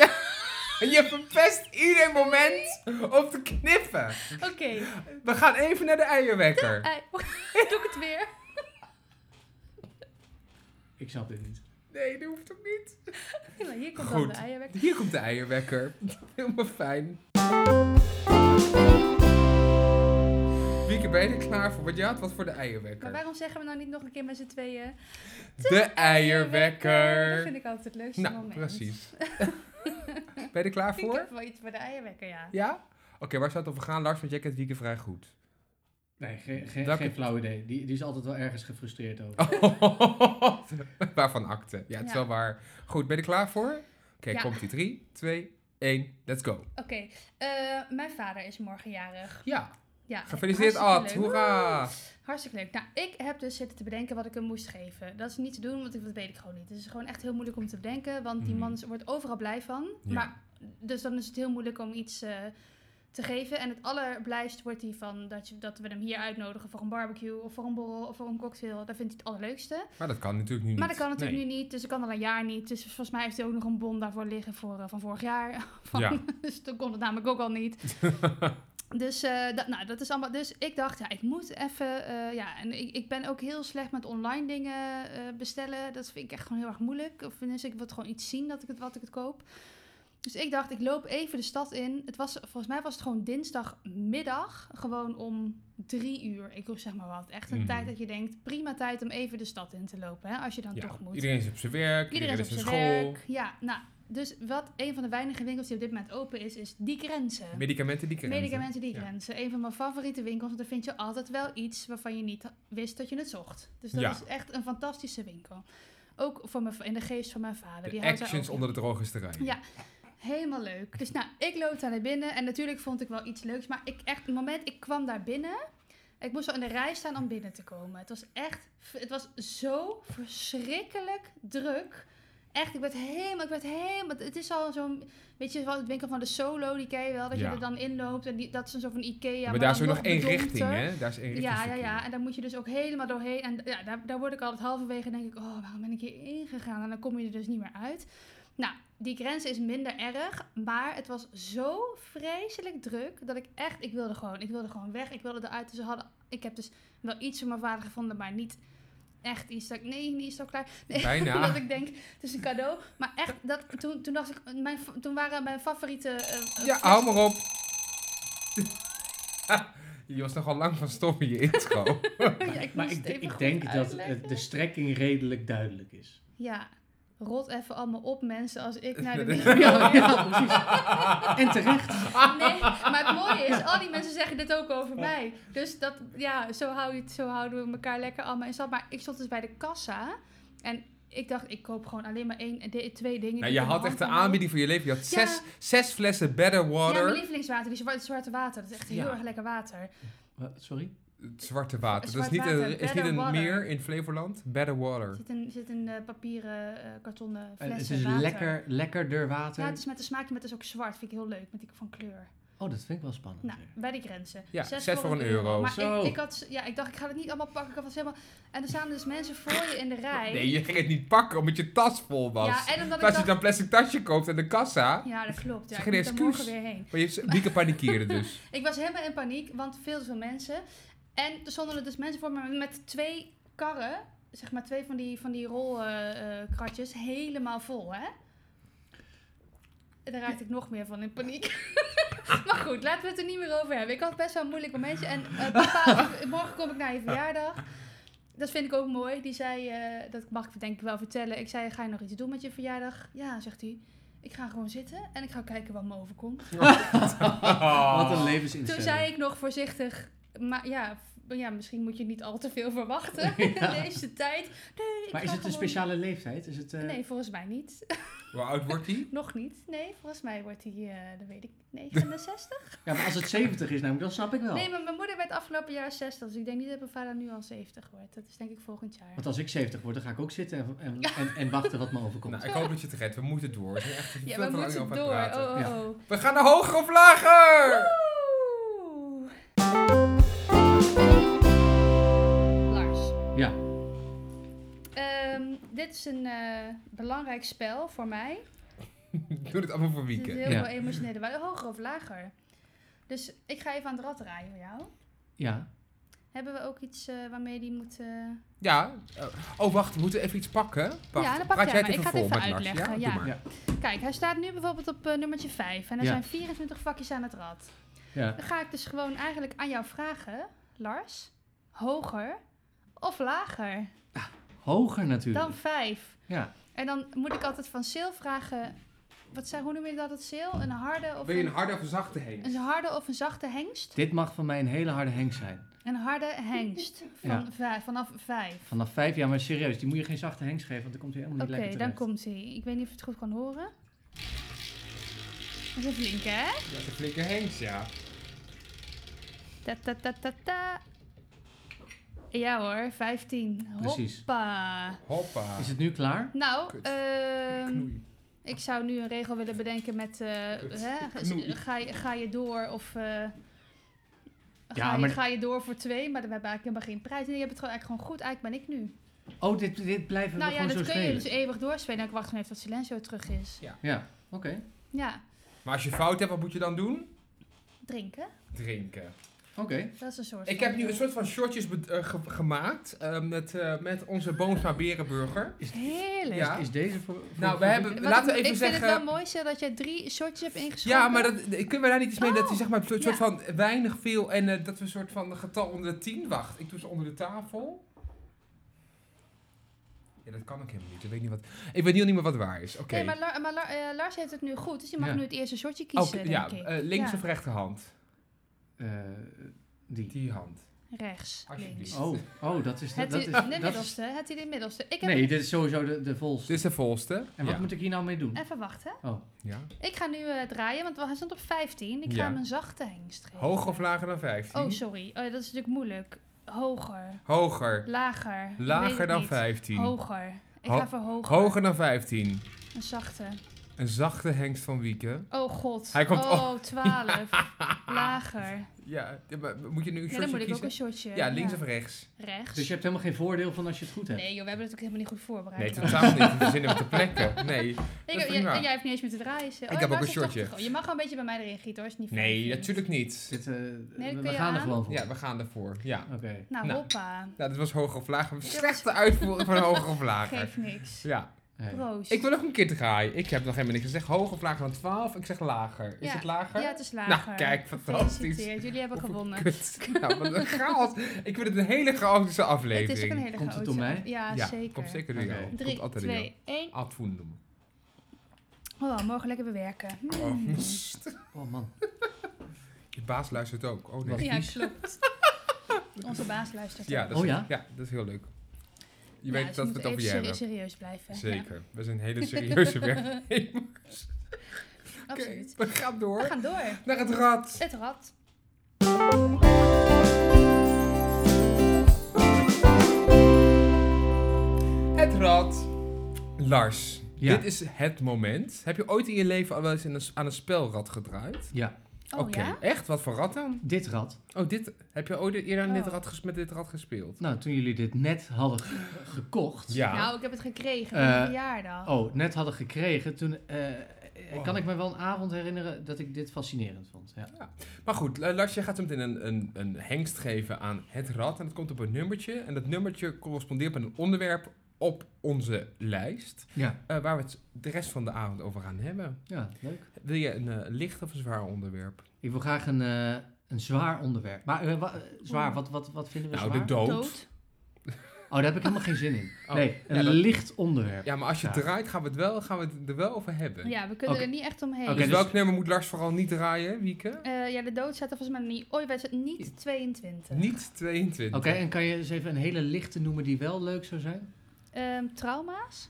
C: En je verpest ieder moment om te knippen.
B: Oké,
C: We gaan even naar de eierwekker.
B: ei. doe ik het weer.
D: Ik snap dit niet.
B: e-
C: Nee, dat hoeft ook niet.
B: Ja, hier komt
C: Goed.
B: dan de eierwerk.
C: Hier komt de eierwekker. Helemaal fijn. Wieke, ben je er klaar voor? Want je had wat voor de
B: Maar
C: eierwekker.
B: waarom zeggen we nou niet nog een keer met z'n tweeën?
C: De
B: Dat
C: eierwekker.
B: vind ik altijd het leukste
C: Nou,
B: moment.
C: precies. ben je er klaar
B: Ik
C: voor?
B: heb wel iets voor de eierwekker, ja.
C: Ja? Oké, waar zou het over gaan, Lars? Want jij kent Wieke vrij goed.
D: Nee, ge- ge-
C: Dank
D: geen
C: u.
D: flauw idee. Die, die is altijd wel ergens gefrustreerd over.
C: Waarvan akte. Ja, het is
B: Ja.
C: wel waar. Goed, ben je er klaar voor? Oké,
B: Ja.
C: komt die 3, 2, 1, let's go.
B: Oké, eh, mijn vader is morgen jarig.
C: Ja,
B: Ja,
C: gefeliciteerd Ad.
B: hartstikke leuk.
C: Hoera.
B: Hartstikke leuk. Nou, ik heb dus zitten te bedenken wat ik hem moest geven. Dat is niet te doen, want ik- dat weet ik gewoon niet. Het is gewoon echt heel moeilijk om te bedenken, want die
C: Mhm.
B: man is- wordt overal blij van.
C: Ja.
B: Maar, dus dan is het heel moeilijk om iets eh, te geven. En het allerblijst wordt hij van dat, je, dat we hem hier uitnodigen voor een barbecue of voor een borrel of voor een cocktail. Dat vindt hij het allerleukste.
C: Maar dat kan natuurlijk nu niet.
B: Maar dat kan natuurlijk
C: Nee.
B: nu niet, dus dat kan al een jaar niet. Dus volgens mij heeft hij ook nog een bon daarvoor liggen voor, eh, van vorig jaar. Van,
C: Ja.
B: Dus toen kon het namelijk ook al niet. dus, eh, dat, nou, dat is allemaal, dus ik dacht, ja, ik moet even... eh, ja, en ik, ik ben ook heel slecht met online dingen eh, bestellen. Dat vind ik echt gewoon heel erg moeilijk. Of dus ik wil gewoon iets zien dat ik het, wat ik het koop. Dus ik dacht, ik loop even de stad in. Het was, volgens mij was het gewoon dinsdagmiddag, gewoon om drie uur. Ik hoef zeg maar wat. Echt een
C: Mhm.
B: tijd dat je denkt, prima tijd om even de stad in te lopen, hè, als je dan
C: Ja,
B: toch moet.
C: Iedereen is op zijn werk, iedereen,
B: Iedereen
C: is
B: op
C: op
B: zijn
C: school.
B: werk. Ja, nou, dus wat een van de weinige winkels die op dit moment open is, is die grenzen.
C: Medicamenten die krijgen.
B: Medicamenten die
C: Ja.
B: grenzen. Een van mijn favoriete winkels, want daar vind je altijd wel iets waarvan je niet wist dat je het zocht. Dus dat
C: Ja.
B: is echt een fantastische winkel. Ook voor mijn, in de geest van mijn vader.
C: De
B: houdt daar
C: actions
B: ook
C: onder de drogisterij.
B: Ja. Helemaal leuk. Dus nou, ik loop daar naar binnen en natuurlijk vond ik wel iets leuks. Maar ik echt, het moment, ik kwam daar binnen. Ik moest al in de rij staan om binnen te komen. Het was echt, het was zo verschrikkelijk druk. Echt, ik werd helemaal, ik werd helemaal, het is al zo'n, weet je, wel, het winkel van de solo, die ken je wel, dat
C: Ja.
B: je er dan inloopt en die, dat is een soort van Ikea.
C: maar daar is
B: dan
C: ook nog één
B: bedompter.
C: richting, hè? Daar is eh, één richting.
B: Ja, ja, ja. En dan moet je dus ook helemaal doorheen. En ja, daar, daar word ik altijd halverwege en denk ik, oh, waarom ben ik hier ingegaan? En dan kom je er dus niet meer uit. Nou, die grens is minder erg, maar het was zo vreselijk druk dat ik echt, ik wilde gewoon, ik wilde gewoon weg. Ik wilde eruit. Dus ze hadden, ik heb dus wel iets van mijn vader gevonden, maar niet echt iets dat ik, nee, niet iets zo klaar. Nee,
C: Bijna.
B: dat ik denk, het is een cadeau. Maar echt, dat, toen, toen dacht ik, mijn, fa- toen waren mijn favoriete... eh,
C: Ja, hou maar op. je was nogal lang van stof in je intro.
B: Oh, Ja, ik
D: maar
B: moest
D: ik,
B: het even
D: ik
B: goed
D: denk dat eh,
B: uitleggen.
D: de strekking redelijk duidelijk is.
B: Ja, rot even allemaal op mensen als ik naar de winkel...
D: Ja, ja, precies. En terecht.
B: Nee, maar het mooie is, al die mensen zeggen dit ook over mij. Dus dat, ja, zo, hou je, het- zo houden we elkaar lekker allemaal in stand. Maar ik stond dus bij de kassa en ik dacht, ik koop gewoon alleen maar één, de- twee dingen.
C: nou,
B: die
C: je
B: ik in
C: had
B: mijn
C: echt de
B: hand kan
C: aanbieding van je leven. Je had
B: Ja.
C: zes, zes flessen Better
B: houden. Ja,
C: Water.
B: mijn lievelingswater, die zwarte, zwarte water. Dat is echt heel
C: Ja.
B: erg lekker water.
D: Wat, Sorry?
C: Het zwarte water.
B: Zwart
C: dat is niet
B: water,
C: een, is niet
B: Better
C: een
B: Water.
C: meer in Flevoland. Better Water.
B: Er zit een, zit een eh, papieren eh, kartonnen
D: Eh,
B: fles
D: het is
B: water.
D: lekker, lekkerder water.
B: Ja, het is met een smaakje, maar het is ook zwart. Vind ik heel leuk, met die van kleur.
D: Oh, dat vind ik wel spannend.
B: Nou,
D: weer.
B: bij de grenzen.
C: Ja, zes voor een euro.
B: Maar
D: Zo.
B: ik, ik, had, ja, ik dacht, ik ga het niet allemaal pakken. Ik was helemaal... En er staan dus mensen voor je in de rij.
C: Nee, je ging het niet pakken omdat je tas vol was. Dus
B: Ja, en omdat
C: als
B: ik
C: je
B: dacht...
C: dan plastic tasje koopt aan de kassa.
B: Ja, dat klopt. Ja,
C: Zeg
B: ik
C: geen
B: moet er
C: excuus.
B: morgen weer heen.
C: Maar je dieke panikeerde dus.
B: Ik was helemaal in paniek, want veel te veel mensen. En er stonden er dus mensen voor me met twee karren. Zeg maar twee van die, van die rolkratjes. helemaal vol, hè? En Daar raakte ik nog meer van in paniek. maar goed, laten we het er niet meer over hebben. Ik had best wel een moeilijk momentje. En eh, papa, morgen kom ik naar je verjaardag. Dat vind ik ook mooi. Die zei, eh, dat mag ik denk ik wel vertellen. Ik zei, ga je nog iets doen met je verjaardag? Ja, zegt hij. Ik ga gewoon zitten en ik ga kijken wat me overkomt.
C: Oh.
D: Wat een
B: Toen
D: levensinstelling.
B: zei ik nog voorzichtig, maar ja, f- ja misschien moet je niet al te veel verwachten in deze tijd. Nee, ik
D: maar is
B: ga
D: het een
B: gewoon-
D: speciale leeftijd? Is het, eh,
B: Nee, volgens mij niet.
C: Hoe oud wordt hij?
B: Nog niet. Nee, volgens mij wordt hij, eh, dat weet ik, 69?
D: Ja, maar als het 70 is namelijk, dan snap ik wel.
B: Nee, maar mijn moeder werd afgelopen jaar 60, dus ik denk niet dat mijn vader nu al 70 wordt. Dat is denk ik volgend jaar.
D: Want als ik 70 word, dan ga ik ook zitten en, en, en, en wachten wat me overkomt.
C: Nou, ik hoop dat je het redt. We moeten door. We zijn echt veel
B: Ja,
C: te
B: we
C: lang
B: moeten
C: over
B: door.
C: aan het
B: Oh,
C: praten.
B: oh,
D: Ja.
B: oh.
C: We gaan naar hoger of lager!
B: Oeh. Lars.
D: Ja,
B: Ehm, dit is een eh, belangrijk spel voor mij.
C: Doe dit allemaal voor
B: Er zit
C: weekend.
B: heel
D: Ja.
B: veel emotionele bij. Hoger of lager? Dus ik ga even aan het rad draaien voor jou.
D: ja.
B: Hebben we ook iets eh, waarmee die moet... eh,
C: Ja. eh, Oh, wacht. We moeten even iets pakken. Wacht,
B: Ja, dan pak
C: praat
B: jij
C: jij
B: maar. Ik
C: het even
B: ga het even
C: vol met Lars.
B: uitleggen,
C: Ja,
B: ja.
C: doe maar.
D: Ja.
B: Kijk, hij staat nu bijvoorbeeld op eh, nummertje 5. En er
D: Ja.
B: zijn 24 vakjes aan het rad.
D: ja.
B: Dan ga ik dus gewoon eigenlijk aan jou vragen, Lars. Hoger of lager
D: Hoger natuurlijk.
B: dan 5?
D: Ja.
B: En dan moet ik altijd van Sil vragen... Wat zijn, hoe noem je dat, het Sil? Een harde of
C: Wil je een
B: een,
C: harde of een zachte heen?
B: een harde of een zachte hengst?
D: Dit mag van mij een hele harde henk zijn.
B: Een harde hengst van
D: Ja.
B: vijf, vanaf vijf.
D: Vanaf vijf jaar, maar serieus, die moet je geen zachte henks geven, want dan komt hij helemaal
B: Oké,
D: niet lekker
B: dan
D: terecht.
B: komt hij. Ik weet niet of je het goed kan horen. Dat is een flinke, hè?
C: Dat is een flinke Hengs, ja.
B: Ta ta ta ta ta. Ja hoor, 15.
D: Precies.
B: Hoppa.
C: Hoppa.
D: Is het nu klaar?
B: Nou,
C: Kut.
B: ehm,
C: Knoei.
B: ik zou nu een regel willen bedenken met... eh,
C: Kut.
B: hè, ga-
C: Knoei.
B: ga, je, ga je door of... eh,
D: Ja,
B: ga,
D: maar-
B: je, ga je door voor twee, maar dan hebben we eigenlijk helemaal geen prijs. Nee, je hebt het gewoon eigenlijk gewoon goed. Eigenlijk ben ik nu.
D: Oh, dit, dit blijven
B: nou
D: we
B: ja, dat
D: gewoon
B: kun
D: zo spelen.
B: je dus eeuwig doorspelen. En ik wacht maar even tot Silencio terug is.
D: Ja, oké.
B: Ja,
C: Maar als je fout hebt, wat moet je dan doen?
B: drinken.
C: Drinken.
D: Oké.
B: Dat is een soort
C: Ik
B: van-
C: heb nu een soort van shortjes bed- eh, ge- gemaakt eh, met, eh, met onze Boomsma Berenburger.
B: Heerlijk.
C: Ja.
D: Is deze voor... voor-
C: Nou, we
D: voor-
C: hebben,
B: Wat
C: laten
B: ik,
C: we even
B: ik
C: zeggen...
B: vind het wel mooi zo dat jij drie shortjes hebt ingeschonken.
C: Ja, maar dat, eh, kunnen we daar niet iets mee dat hij zeg maar een soort
B: ja.
C: van weinig, veel en eh, dat we een soort van een getal onder de 10 wacht. Ik doe ze onder de tafel. Ja, dat kan ook helemaal niet. Ik weet niet wat. Ik weet niet, niet meer wat waar is. Oké.
B: Nee, maar, Lar- maar Lar- eh, Lars heeft het nu goed, dus je mag
D: Ja.
B: nu het eerste shortje
C: Oké,
B: kiezen, denk
C: ja,
B: ik.
C: eh, links
B: Ja.
C: of rechterhand?
D: Eh, die.
C: Die hand.
B: Rechts,
C: Alsjeblieft.
B: links.
D: Oh, oh, dat is...
B: Het,
D: dat
B: i-
D: is,
B: de
D: dat is
B: middelste, het i- de middelste. Ik heb
D: nee, dit is sowieso de, de volste.
C: Dit is de volste.
D: en wat
C: ja.
D: moet ik hier nou mee doen?
B: Even wachten.
D: Oh,
C: ja.
B: Ik ga nu eh, draaien, want hij stond op 15. Ik ga
C: Ja.
B: hem een zachte hengst geven.
C: Hoger of lager dan 15?
B: Oh, sorry. Eh, dat is natuurlijk moeilijk. Hoger,
C: Hoger.
B: lager. ik weet
C: Lager
B: het
C: dan
B: niet.
C: 15.
B: Hoger. Ik
C: Ho-
B: ga voor hoger.
C: Hoger dan 15.
B: Een zachte.
C: Een zachte hengst van Wieken.
B: Oh god.
C: Hij komt
B: oh, 12. Lager.
C: Ja, maar moet je nu een
B: Ja, dan
C: shortje
B: moet ik ook
C: kiezen?
B: een shortje.
C: Ja, links of rechts?
B: rechts.
D: dus je hebt helemaal geen voordeel van als je het goed hebt?
B: Nee joh, we hebben het ook helemaal niet goed voorbereid.
C: Nee,
B: hoor.
C: totaal niet. We zinnen we te plekken. Nee.
B: Ik,
C: Dat is
B: jij,
C: prima.
B: jij hebt niet eens meer te draaien. ze-
C: heb ook
B: maar
C: een
B: ze is toch
C: shortje.
B: te gro- Je mag wel een beetje bij mij erin gieten hoor, als je het niet fijn
C: Nee,
B: vindt.
C: natuurlijk niet.
D: Dit, eh,
B: kun
D: we
B: je
D: gaan er
B: aan.
D: gewoon voor.
C: Ja, we gaan ervoor. Ja.
D: Oké.
B: Nou,
C: Nou.
B: hoppa.
C: Nou, dit was hoger of lager. Slechte uitvoering van hoger of lager.
B: Geef niks.
C: Ja.
D: Hey.
B: Proost.
C: Ik wil nog een keer draaien. Ik heb nog helemaal niks gezegd. Hoger of lager dan 12? Ik zeg lager. Is
B: Ja.
C: het lager?
B: Ja, het is lager.
C: Nou, kijk, fantastisch.
B: Gefeliciteerd, jullie hebben
C: Of-
B: gewonnen.
C: Kut. Nou, wat een chaos. Ik vind het een hele chaotische
B: Het
C: aflevering.
B: is ook een hele
D: Komt het
B: grote.
D: door mij?
B: Ja,
C: ja,
B: zeker.
C: Komt zeker door
D: Oké.
C: jou.
B: Drie,
C: komt altijd door jou.
B: twee, één.
C: Afvoendum.
B: Oh, morgen lekker bewerken. Hm.
C: Oh, mst.
D: Oh man.
C: Je baas luistert ook. Oh nee.
D: Wat?
B: Ja, klopt. Onze baas luistert.
C: Ja,
B: ook.
C: dat is,
D: Oh, ja?
C: ja, dat is heel leuk. Je
B: Ja,
C: weet
B: dus
C: dat we
B: moeten
C: het over je
B: even
C: hebben.
B: seri- serieus blijven.
C: Zeker. We zijn hele serieuze werknemers.
B: Ja,
C: Oké,
B: absoluut.
C: we gaan door.
B: We gaan door.
C: Naar het rad.
B: Het rad.
C: Het rad. Lars,
D: Ja.
C: dit is het moment. Heb je ooit in je leven al wel eens in een s- aan een spelrad gedraaid?
D: Ja,
B: Oh ja?
C: Echt? Wat voor rad dan?
D: dit rad.
C: Oh, dit. Heb je ooit eerder aan dit
B: Oh.
C: rad ges- met dit rad gespeeld?
D: Nou, toen jullie dit net hadden ge- gekocht.
C: Ja.
B: Nou, ik heb het gekregen
D: Eh,
B: op mijn verjaardag.
D: Oh, net hadden gekregen. Toen eh, eh,
C: Wow.
D: kan ik me wel een avond herinneren dat ik dit fascinerend vond. Ja.
C: Maar goed, eh, Lars, jij gaat zo meteen een, een, een hengst geven aan het rad. En dat komt op een nummertje. En dat nummertje correspondeert met een onderwerp op onze lijst.
D: Ja.
C: eh, waar we het de rest van de avond over gaan hebben.
D: ja, leuk.
C: Wil je een eh, licht of een zwaar onderwerp?
D: Ik wil graag een, eh, een zwaar onderwerp. Maar eh, wa- eh, zwaar, wat, wat, wat vinden we
C: Nou, de
D: zwaar?
C: dood.
D: Oh, daar heb ik helemaal geen zin in.
C: Oh,
D: Nee, een
C: ja, dat-
D: licht onderwerp.
C: Ja, maar als je het
D: Ja.
C: draait, gaan we het, wel, gaan we het er wel over hebben.
B: Ja, we kunnen
D: Oké.
B: er niet echt omheen.
D: Oké,
C: dus,
D: dus-
C: welk nummer moet Lars vooral niet draaien, Wieke?
B: Eh, ja, de dood staat er volgens mij niet. Ooit werd het niet 22.
C: Niet 22.
D: Oké, en kan je eens even een hele lichte noemen die wel leuk zou zijn?
B: Ehm, trauma's?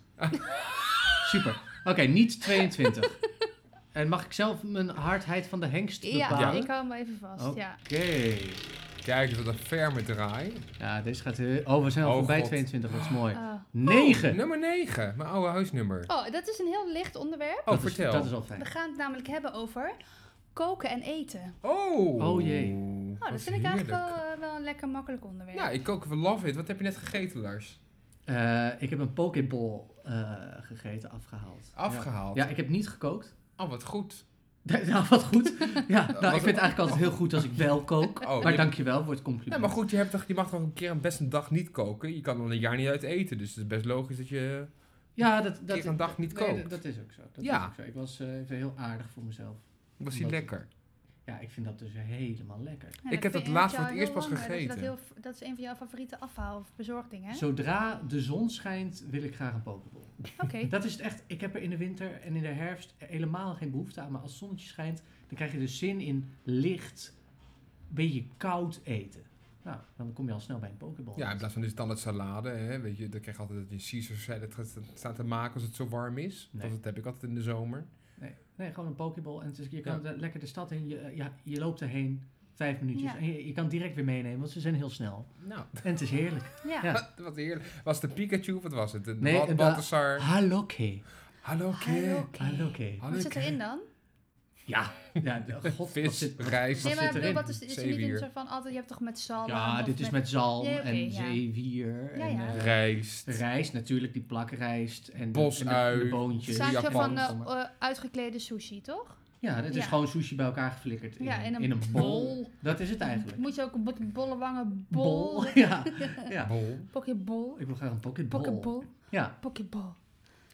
D: Super. Oké, niet 22. en mag ik zelf mijn hardheid van de hengst bepalen?
B: Ja, ik hou hem wel even vast.
D: Oh.
B: Ja.
D: Oké.
C: Kijk, wat een ferme draai.
D: Ja, deze gaat... heel- Oh, we zijn al
C: Oh,
D: voorbij
C: God.
D: 22. Dat is mooi.
B: Oh.
D: 9.
C: Nummer 9, mijn oude huisnummer.
B: Oh, dat is een heel licht onderwerp.
C: Oh,
D: dat
C: vertel.
D: Is, dat is al fijn.
B: We gaan het namelijk hebben over koken en eten.
C: Oh!
D: Oh, jee.
B: Oh, dat
C: wat
B: vind ik eigenlijk
C: heerlijk.
B: wel, eh, wel een lekker makkelijk onderwerp.
C: Ja, ik kook van love it. Wat heb je net gegeten, Lars?
D: Eh, ik heb een pokeball eh, gegeten, afgehaald.
C: Afgehaald.
D: Ja. ja, ik heb niet gekookt.
C: Oh, wat goed.
D: nou, wat goed. Ja,
C: was
D: nou, ik vind het
C: het-
D: eigenlijk altijd heel goed als ik wel kook.
C: Oh,
D: maar
C: je-
D: dankjewel voor het compliment.
C: Ja, maar goed, je, hebt toch, je mag toch een keer een best een dag niet koken? Je kan al een jaar niet uit eten, dus het is best logisch dat je...
D: Ja, dat,
C: keer een dag niet
D: nee,
C: kookt.
D: dat- dat is ook zo. Dat
C: Ja.
D: is ook zo. Ik was eh, even heel aardig voor mezelf.
C: Was die
D: Omdat- Oh,
C: lekker?
D: Ja, ik vind dat dus helemaal lekker.
B: Ja,
C: ik heb dat
B: vind-
C: laatst
B: vind
C: voor
B: ik
C: het
B: jou
C: eerst
B: heel
C: pas
B: lang, eh, Dat, je
C: gegeten.
B: dat, heel, dat is een van jouw favoriete afhaal- of bezorgdingen. hè?
D: Zodra de zon schijnt, wil ik graag een pokeball.
B: Oké.
D: Dat is het echt. Ik heb er in de winter en in de herfst helemaal geen behoefte aan. Maar als het zonnetje schijnt, dan krijg je dus zin in licht, beetje koud eten. Nou, dan kom je al snel bij een pokeball.
C: Ja, in plaats van dus dan het salade, hè, weet je, dan krijg je altijd dat je Caesar salad gaat staat te maken als het zo warm is.
D: Nee.
C: Want dat heb ik altijd in de zomer.
D: nee, nee, gewoon een pokeball. En het is- je
C: Ja.
D: kan de- lekker de stad in. Je, eh, ja, je loopt erheen, vijf minuutjes.
B: Ja.
D: En je, je kan direct weer meenemen, want ze zijn heel snel.
C: Nou,
D: En het is heerlijk.
B: ja.
D: Ja.
C: wat heerlijk. Was het de Pikachu of wat was het? De
D: Nee,
C: Bal-
D: de-
C: Balthasar?
D: Hallo, Kay.
C: Hallo,
B: Hallo,
C: Keer.
B: Kay.
D: Hallo,
B: Wat zit erin dan?
D: Ja, ja de- god, wat
C: Vis,
D: zit-
C: rijst.
D: Wat
B: nee, maar ik bedoel,
D: zit erin?
B: wat is, is er niet een
C: Zeewier.
B: soort van altijd, je hebt toch met zalm?
D: Ja,
B: of
D: dit is met zalm
B: Ja, oké,
D: en
B: ja.
D: zeewier.
B: Ja,
D: en,
B: ja.
D: eh,
C: Rijst.
D: Rijst natuurlijk, die plakrijst en de-
C: Bosui,
D: en de, de
B: Het
D: boontjes.
B: staat
C: Japan,
B: zo van eh,
D: zeg maar.
B: eh, uitgeklede sushi, toch?
D: Ja, dat is
B: Ja.
D: gewoon sushi bij elkaar geflikkerd in,
B: Ja,
D: in een, bol. Dat is het eigenlijk.
B: Moet je ook een bot- bolle wangen bol.
D: Ja. ja.
C: Bol.
B: Pokeball.
D: Ik wil graag een pocketbol.
B: Pokeball.
D: Ja.
B: Pokeball.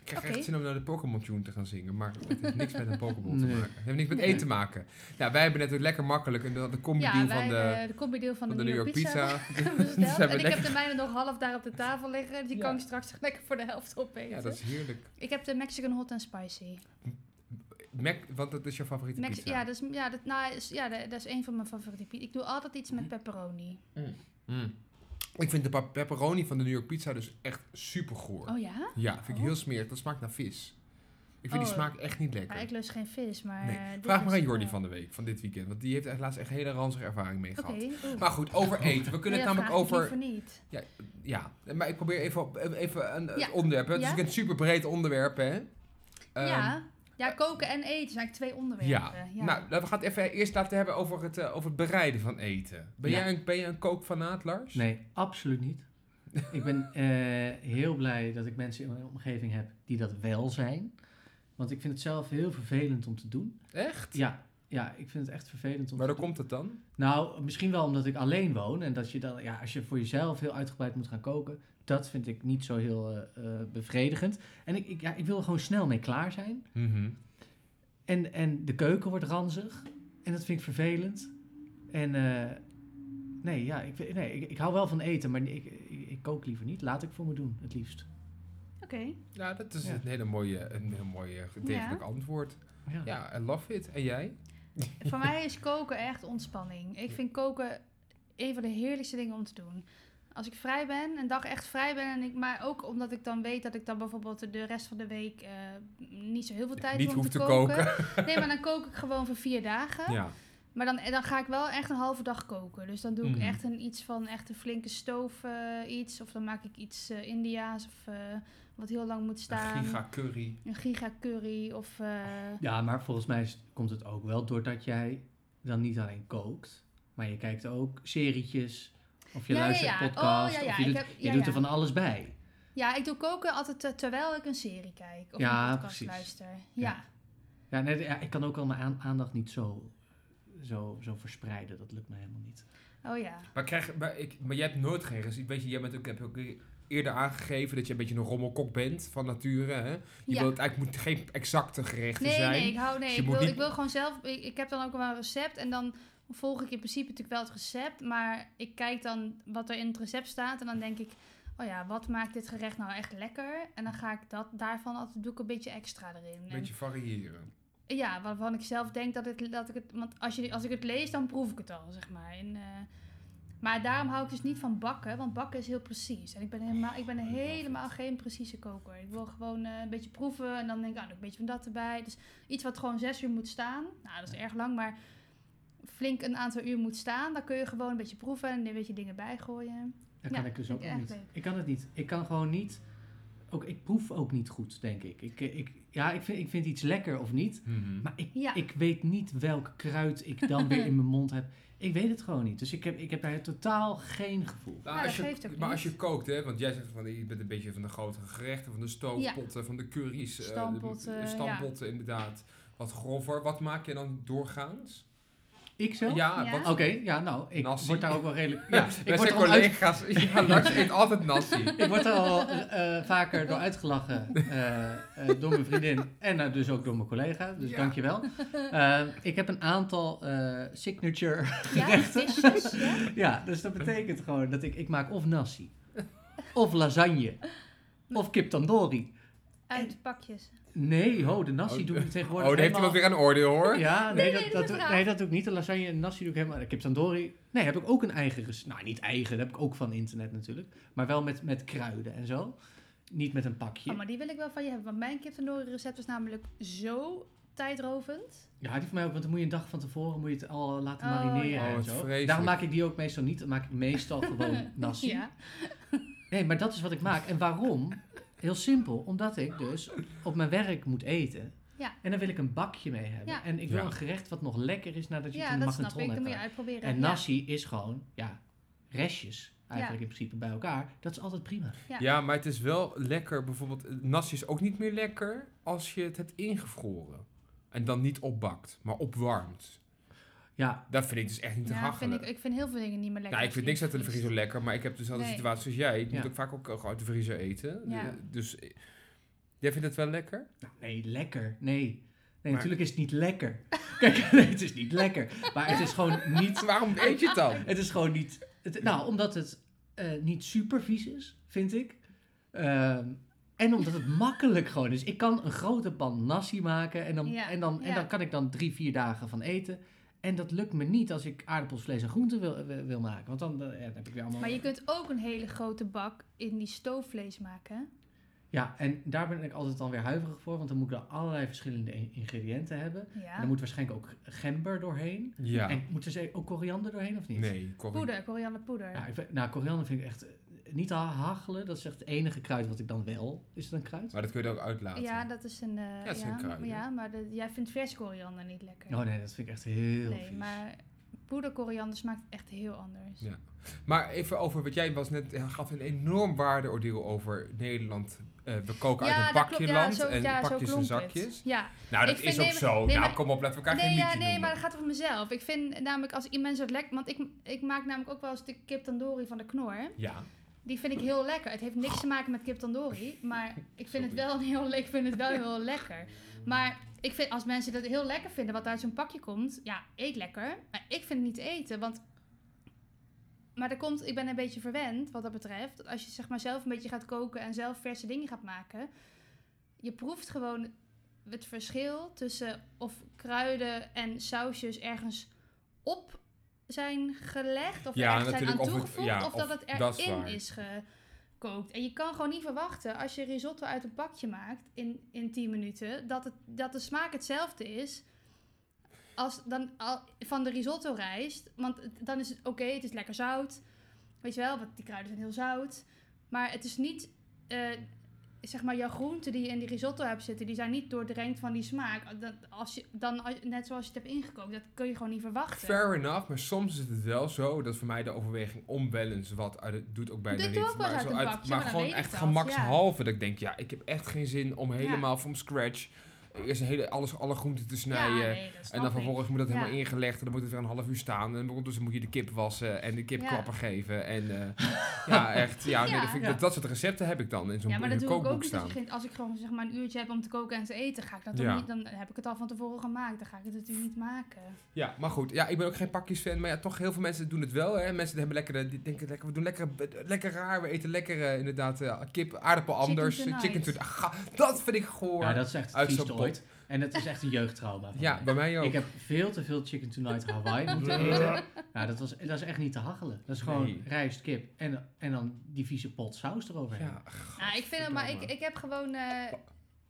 C: Ik krijg
B: Oké.
C: echt zin om naar de Pokémon tune te gaan zingen, maar het heeft niks met een Pokémon te
D: Nee.
C: maken. Het heeft niks met
D: Nee.
C: eten te maken. Nou, wij hebben net ook lekker makkelijk een, de combi
B: Ja,
C: deal
B: wij,
C: van de,
B: eh, de combi-deal van,
C: van de New York Pizza.
B: besteld.
C: Dus hebben
B: en ik
C: lekker-
B: heb de mijne nog half daar op de tafel liggen. dus Die
C: Ja.
B: kan ik straks lekker voor de helft opeten.
C: Ja, dat is heerlijk.
B: Ik heb de Mexican Hot and Spicy.
C: Mac, want dat is jouw favoriete
B: Mex-
C: pizza.
B: ja, dat is, ja, dat, nou, is, ja, dat, dat is een van mijn favoriete pizza. Ik doe altijd iets
C: Mhm.
B: met pepperoni.
C: Mm. Ik vind de pa- pepperoni van de New York Pizza dus echt super goor.
B: Oh ja?
C: Ja, vind ik
B: Oh.
C: heel smerig. Dat smaakt naar vis. Ik vind die
B: Oh.
C: smaak echt niet
B: ja?
C: lekker.
B: Ik lust geen vis, maar...
C: Nee.
B: eh, dit
C: Vraag maar
B: is-
C: aan Jordi
B: ja.
C: van de week, van dit weekend. Want die heeft echt laatst echt hele ranzige ervaring mee
B: Oké.
C: gehad.
B: oeh.
C: Maar goed, over eten. We kunnen
B: Ja,
C: het namelijk
B: vraag ik
C: over...
B: liever niet.
C: Ja, maar ik probeer even, op- even een
B: Ja.
C: het onderwerp. hè. Het is
B: Ja.
C: natuurlijk een super breed onderwerp, hè? Ehm,
B: ja. ja, koken en eten zijn eigenlijk twee
C: Ja.
B: onderwerpen. eh, Ja.
C: Nou, laten we gaan het even eerst laten hebben over het, eh, over het bereiden van eten. Ben,
D: Ja.
C: jij een, ben jij een kookfanaat, Lars?
D: Nee, absoluut niet. Ik ben eh, heel blij dat ik mensen in mijn omgeving heb die dat wel zijn. Want ik vind het zelf heel vervelend om te doen.
C: Echt?
D: Ja, ja ik vind het echt vervelend om
C: Maar
D: te
C: hoe
D: doen.
C: komt het dan?
D: Nou, misschien wel omdat ik alleen woon. En dat je dan, ja, als je voor jezelf heel uitgebreid moet gaan koken. Dat vind ik niet zo heel eh, eh, bevredigend. En ik, ik, ja, ik wil er gewoon snel mee klaar zijn.
C: Mhm.
D: En, en de keuken wordt ranzig. En dat vind ik vervelend. En eh, nee, ja, ik, vind- nee ik, ik hou wel van eten, maar ik, ik, ik kook liever niet. Laat ik voor me doen, het liefst.
B: Oké.
C: Ja, dat is
D: Ja.
C: een hele mooie, een heel mooie degelijk antwoord.
D: Ja.
C: Ja, I love it. En jij?
B: Voor mij is koken echt ontspanning. Ik vind koken een van de heerlijkste dingen om te doen. Als ik vrij ben, een dag echt vrij ben, en ik, maar ook omdat ik dan weet dat ik dan bijvoorbeeld de rest van de week eh, niet zo heel veel tijd
C: Niet
B: heb om
C: hoeft
B: te
C: te
B: koken. Nee, maar dan kook ik gewoon voor vier dagen.
C: Ja.
B: Maar dan, en dan ga ik wel echt een halve dag koken. Dus dan doe ik
C: Mhm.
B: echt een, iets van echt een flinke stoof eh, iets. Of dan maak ik iets eh, Indiaas of eh, wat heel lang moet staan.
C: Een giga curry.
B: Een giga curry of... eh,
D: Ja, maar volgens mij is- komt het ook wel doordat jij dan niet alleen kookt, maar je kijkt ook serietjes. Of je
B: Ja, ja,
D: luistert
B: ja.
D: podcasts.
B: Oh, ja, ja.
D: Of je
B: Ik
D: doet,
B: heb-
D: je
B: ja,
D: doet
B: ja.
D: er van alles bij.
B: Ja, ik doe koken altijd eh, terwijl ik een serie kijk. Of
D: Ja,
B: een podcast
D: precies.
B: luister. Ja.
D: Ja. Ja, nee, ja, ik kan ook al mijn aan- aandacht niet zo, zo, zo verspreiden. Dat lukt me helemaal niet.
B: Oh ja.
C: Maar, krijg, maar, ik, maar jij hebt nooit geen rest. Weet je, jij bent ook, heb ook eerder aangegeven dat je een beetje een rommelkok bent van nature. Hè? Je
B: Ja.
C: wilt, eigenlijk moet geen exacte gerechten
B: Nee,
C: zijn.
B: nee, ik hou
C: Dus
B: nee.
C: je
B: Ik
C: moet
B: wil,
C: niet-
B: ik wil gewoon zelf. Ik, ik heb dan ook wel een recept en dan volg ik in principe natuurlijk wel het recept. Maar ik kijk dan wat er in het recept staat en dan denk ik. Oh ja, wat maakt dit gerecht nou echt lekker? En dan ga ik dat daarvan altijd doe ik een beetje extra erin.
C: Een beetje variëren.
B: En, ja, waarvan ik zelf denk dat, het, dat ik het. Want als, je, als ik het lees, dan proef ik het al, zeg maar. En, eh, maar daarom hou ik dus niet van bakken, want bakken is heel precies. En ik ben helemaal, ik ben helemaal geen precieze koker. Ik wil gewoon eh, een beetje proeven en dan denk ik, ah, doe ik een beetje van dat erbij. Dus iets wat gewoon zes uur moet staan. Nou, dat is erg lang, maar flink een aantal uur moet staan. Dan kun je gewoon een beetje proeven en een beetje dingen bijgooien.
D: Dat
B: Ja,
D: kan ik dus ook
B: vind ik
D: niet.
B: echt leuk.
D: Ik kan het niet. Ik kan gewoon niet. Ook, ik proef ook niet goed, denk ik. ik, eh, ik ja, ik vind, ik vind iets lekker of niet. Maar ik,
B: Ja.
D: ik weet niet welk kruid ik dan weer in mijn mond heb. Ik weet het gewoon niet. Dus ik heb, ik heb daar totaal geen gevoel.
C: Nou,
B: Ja,
C: als
B: dat
C: je,
B: geeft ook
C: maar als
B: niet.
C: je kookt, hè, want jij zegt van je bent een beetje van de grotere gerechten, van de stoofpotten, van de curry's, eh, de-
B: Stampotten,
C: de
B: ja.
C: stampotten inderdaad. Wat grover. Wat maak je dan doorgaans?
D: Ik zelf?
C: Ja,
B: Ja.
C: wat
D: Oké, ja, nou, ik
C: Nassie.
D: word daar ook wel redelijk.
C: Ja,
D: Ja,
C: wij
D: ik, word
C: zijn
D: er al uit-
C: collega's. Ja, Lars eet altijd nasi.
D: ik word er al eh, vaker door uitgelachen eh, eh, door mijn vriendin en eh, dus ook door mijn collega. Dus
C: Ja.
D: dankjewel. Eh, ik heb een aantal eh, signature
B: Ja, visjes. Ja.
D: Ja, dus dat betekent gewoon dat ik, ik maak of nasi, of lasagne, of kip tandoori.
B: Uit pakjes.
D: Nee, ho, de nasi
C: Oh,
D: doe ik
C: Oh,
D: tegenwoordig
C: daar heeft
D: helemaal...
C: iemand weer een oordeel hoor.
D: Ja, nee,
B: Nee,
D: dat,
B: nee,
D: dat,
B: dat is
D: doe-
B: raar.
D: nee, dat doe ik niet. De lasagne en nasi doe ik helemaal... Kip tandoori, nee, heb ik ook een eigen recept. Nou, niet eigen, dat heb ik ook van internet natuurlijk. Maar wel met, met kruiden en zo. Niet met een
B: Oh,
D: pakje.
B: maar die wil ik wel van je hebben, want mijn kip tandoori recept is namelijk zo tijdrovend.
D: Ja, die van mij ook, want dan moet je een dag van tevoren moet je het al laten
B: Oh,
D: marineren
B: ja.
C: Oh,
D: en
C: wat
D: zo.
C: vreselijk.
D: Daarom maak ik die ook meestal niet. Dan maak ik meestal gewoon nasi.
B: Ja.
D: Nee, maar dat is wat ik maak. En waarom? Heel simpel. Omdat ik dus op mijn werk moet eten.
B: Ja.
D: En dan wil ik een bakje mee hebben.
B: Ja.
D: En ik wil
C: Ja.
D: een gerecht wat nog lekker is nadat je
B: Ja,
D: het in de
B: dat snap ik.
D: magnetron
B: Dan moet
D: hebt.
B: je
D: gehad.
B: uitproberen.
D: En
B: Ja.
D: nasi is gewoon, ja, restjes eigenlijk in principe bij elkaar. Dat is altijd prima.
B: Ja.
C: Ja, maar het is wel lekker. Bijvoorbeeld, eh, nasi is ook niet meer lekker als je het hebt ingevroren. En dan niet opbakt, maar opwarmt.
D: Ja,
C: Dat vind ik dus echt niet te
B: Ja, vind
C: hachelen.
B: ik, ik vind heel veel dingen niet meer lekker.
C: nou, ik
B: als
C: vind niks
B: je
C: uit de
B: iets
C: vriezer lekker, maar ik heb dus dezelfde
B: Nee.
C: situatie als jij. Ik
D: Ja.
C: moet ook vaak ook gewoon uit de vriezer eten.
B: Ja.
C: De- Dus eh, jij vindt het wel lekker?
D: Nou, nee, lekker. Nee. Nee, natuurlijk
C: natuurlijk
D: is het niet lekker. Kijk, nee, het is niet lekker. Maar het is gewoon niet...
C: Dus Waarom eet je het dan?
D: Het is gewoon niet... het- nou, omdat het eh, niet super vies is, vind ik. Ehm, en omdat het makkelijk gewoon is. Ik kan een grote pan nasi maken en dan,
B: Ja,
D: en dan, en
B: ja.
D: dan kan ik dan drie, vier dagen van eten. En dat lukt me niet als ik aardappels, vlees en groenten wil, wil- wil maken. Want dan, eh, dan heb ik weer allemaal...
B: Maar je kunt ook een hele grote bak in die stoofvlees maken. hè?
D: Ja, en daar ben ik altijd dan weer huiverig voor. Want dan moet ik dan allerlei verschillende in- ingrediënten hebben. En
B: Ja.
D: dan moet waarschijnlijk ook gember doorheen.
C: Ja.
D: En moet er ze- ook koriander doorheen of niet?
C: Nee, Corrie.
B: Poeder, korianderpoeder.
D: Nou, ik vind- nou, koriander vind ik echt eh, niet ha- hachelen. Dat is echt het enige kruid wat ik dan wel... Is het een kruid?
C: Maar dat kun je er ook uitlaten.
B: Ja, dat is een. eh,
C: dat is een kruid,
B: ja, maar de- jij vindt vers koriander niet lekker.
D: Oh nee, dat vind ik echt heel
B: nee,
D: vies.
B: maar poederkoriander smaakt echt heel anders.
C: Ja. Maar even over wat jij was net eh, gaf een enorm waardeoordeel over Nederland. Eh, we koken uit een
B: dat
C: pakje
B: klopt.
C: land
B: zo-
C: en
B: ja, zo
C: pakjes en
B: klonk het.
C: zakjes.
B: Ja,
C: Nou, dat
B: Ik
C: is
B: vind-
C: ook
B: nee,
C: zo.
B: nee,
C: nou,
B: maar-
C: kom op, laten we elkaar
B: nee,
C: geen
B: ja,
C: liedje
B: nee,
C: noemen.
B: maar dat gaat over mezelf. Ik vind namelijk als iemand zo lekker... Want ik, ik maak namelijk ook wel eens de kip tandoori van de knor.
C: Ja,
B: Die vind ik heel lekker. Het heeft niks te maken met kip tandoori. Maar ik vind, het
C: Sorry.
B: wel, heel, ik vind het wel heel lekker. Maar ik vind, als mensen dat heel lekker vinden wat uit zo'n pakje komt... Ja, eet lekker. Maar ik vind het niet te eten, want... Maar dat komt, ik ben een beetje verwend wat dat betreft. Dat Als je zeg maar zelf een beetje gaat koken en zelf verse dingen gaat maken... Je proeft gewoon het verschil tussen of kruiden en sausjes ergens op zijn gelegd of
C: Ja,
B: ergens zijn aan
C: natuurlijk, of het-
B: toegevoegd
C: ja,
B: of,
C: of
B: dat het
C: dat is
B: erin
C: waar.
B: is gekookt. En je kan gewoon niet verwachten als je risotto uit een pakje maakt in, in 10 minuten dat, het, dat de smaak hetzelfde is als dan al, van de risotto rijst. Want het- dan is het oké, het is lekker zout. Weet je wel, want die kruiden zijn heel zout. Maar het is niet eh, zeg maar, jouw groenten die je in die risotto hebt zitten, die zijn niet doordrenkt van die smaak. Dat, als je, dan, als- net zoals je het hebt ingekookt, dat kun je gewoon niet verwachten.
C: fair enough. Maar soms is het wel zo. Dat is voor mij de overweging om wel eens wat uit het- doet ook bijna
B: Doe
C: niet.
B: ik ook wel eens
C: maar
B: uit
C: zo
B: een bakje,
C: maar
B: maar dan
C: gewoon
B: weet ik
C: echt
B: dat,
C: gemakshalve. Dat ik denk, ja, ik heb echt geen zin om helemaal from scratch eerst hele, alles, alle groenten te snijden.
B: Ja, nee, dat snap
C: En dan
B: ik.
C: vervolgens moet dat
B: Ja.
C: helemaal ingelegd. En dan moet het weer een half uur staan. En ondertussen moet je de kip wassen en de kip
B: Ja.
C: klappen geven. En eh, ja, echt. Ja, nee,
B: Ja.
C: dat, vind ik, dat, dat soort recepten heb ik dan in zo'n
B: Ja, maar
C: in
B: dat
C: een
B: doe ik ook
C: kookboek
B: niet. Als,
C: staan.
B: je geen- als ik gewoon zeg maar, een uurtje heb om te koken en te eten, ga ik dat toch
C: Ja.
B: niet, dan heb ik het al van tevoren gemaakt. Dan ga ik het natuurlijk niet maken.
C: Ja, maar goed. Ja, ik ben ook geen pakjesfan. Maar ja, toch heel veel mensen doen het wel. Hè. Mensen hebben lekkere, die denken lekker, we doen lekker, lekker raar. We eten lekker eh, inderdaad eh, kip, aardappel
B: Chicken
C: anders. eh,
B: tonight.
C: Chicken tonight. Ga, dat vind ik goor.
D: Ja, dat is echt
C: Uit
D: vies
C: zo'n pot.
D: ooit. En dat is echt een jeugdtrauma. van
C: Ja,
D: mij.
C: bij mij ook.
D: Ik heb veel te veel chicken tonight Hawaii moeten eten. Nou, dat, was, dat is echt niet te hachelen. Dat is gewoon
C: Nee.
D: rijst, kip en, en dan die vieze pot saus eroverheen.
C: ja,
B: Ja, ik vind het, maar ik,
C: Godverdomme.
B: ik heb gewoon. eh,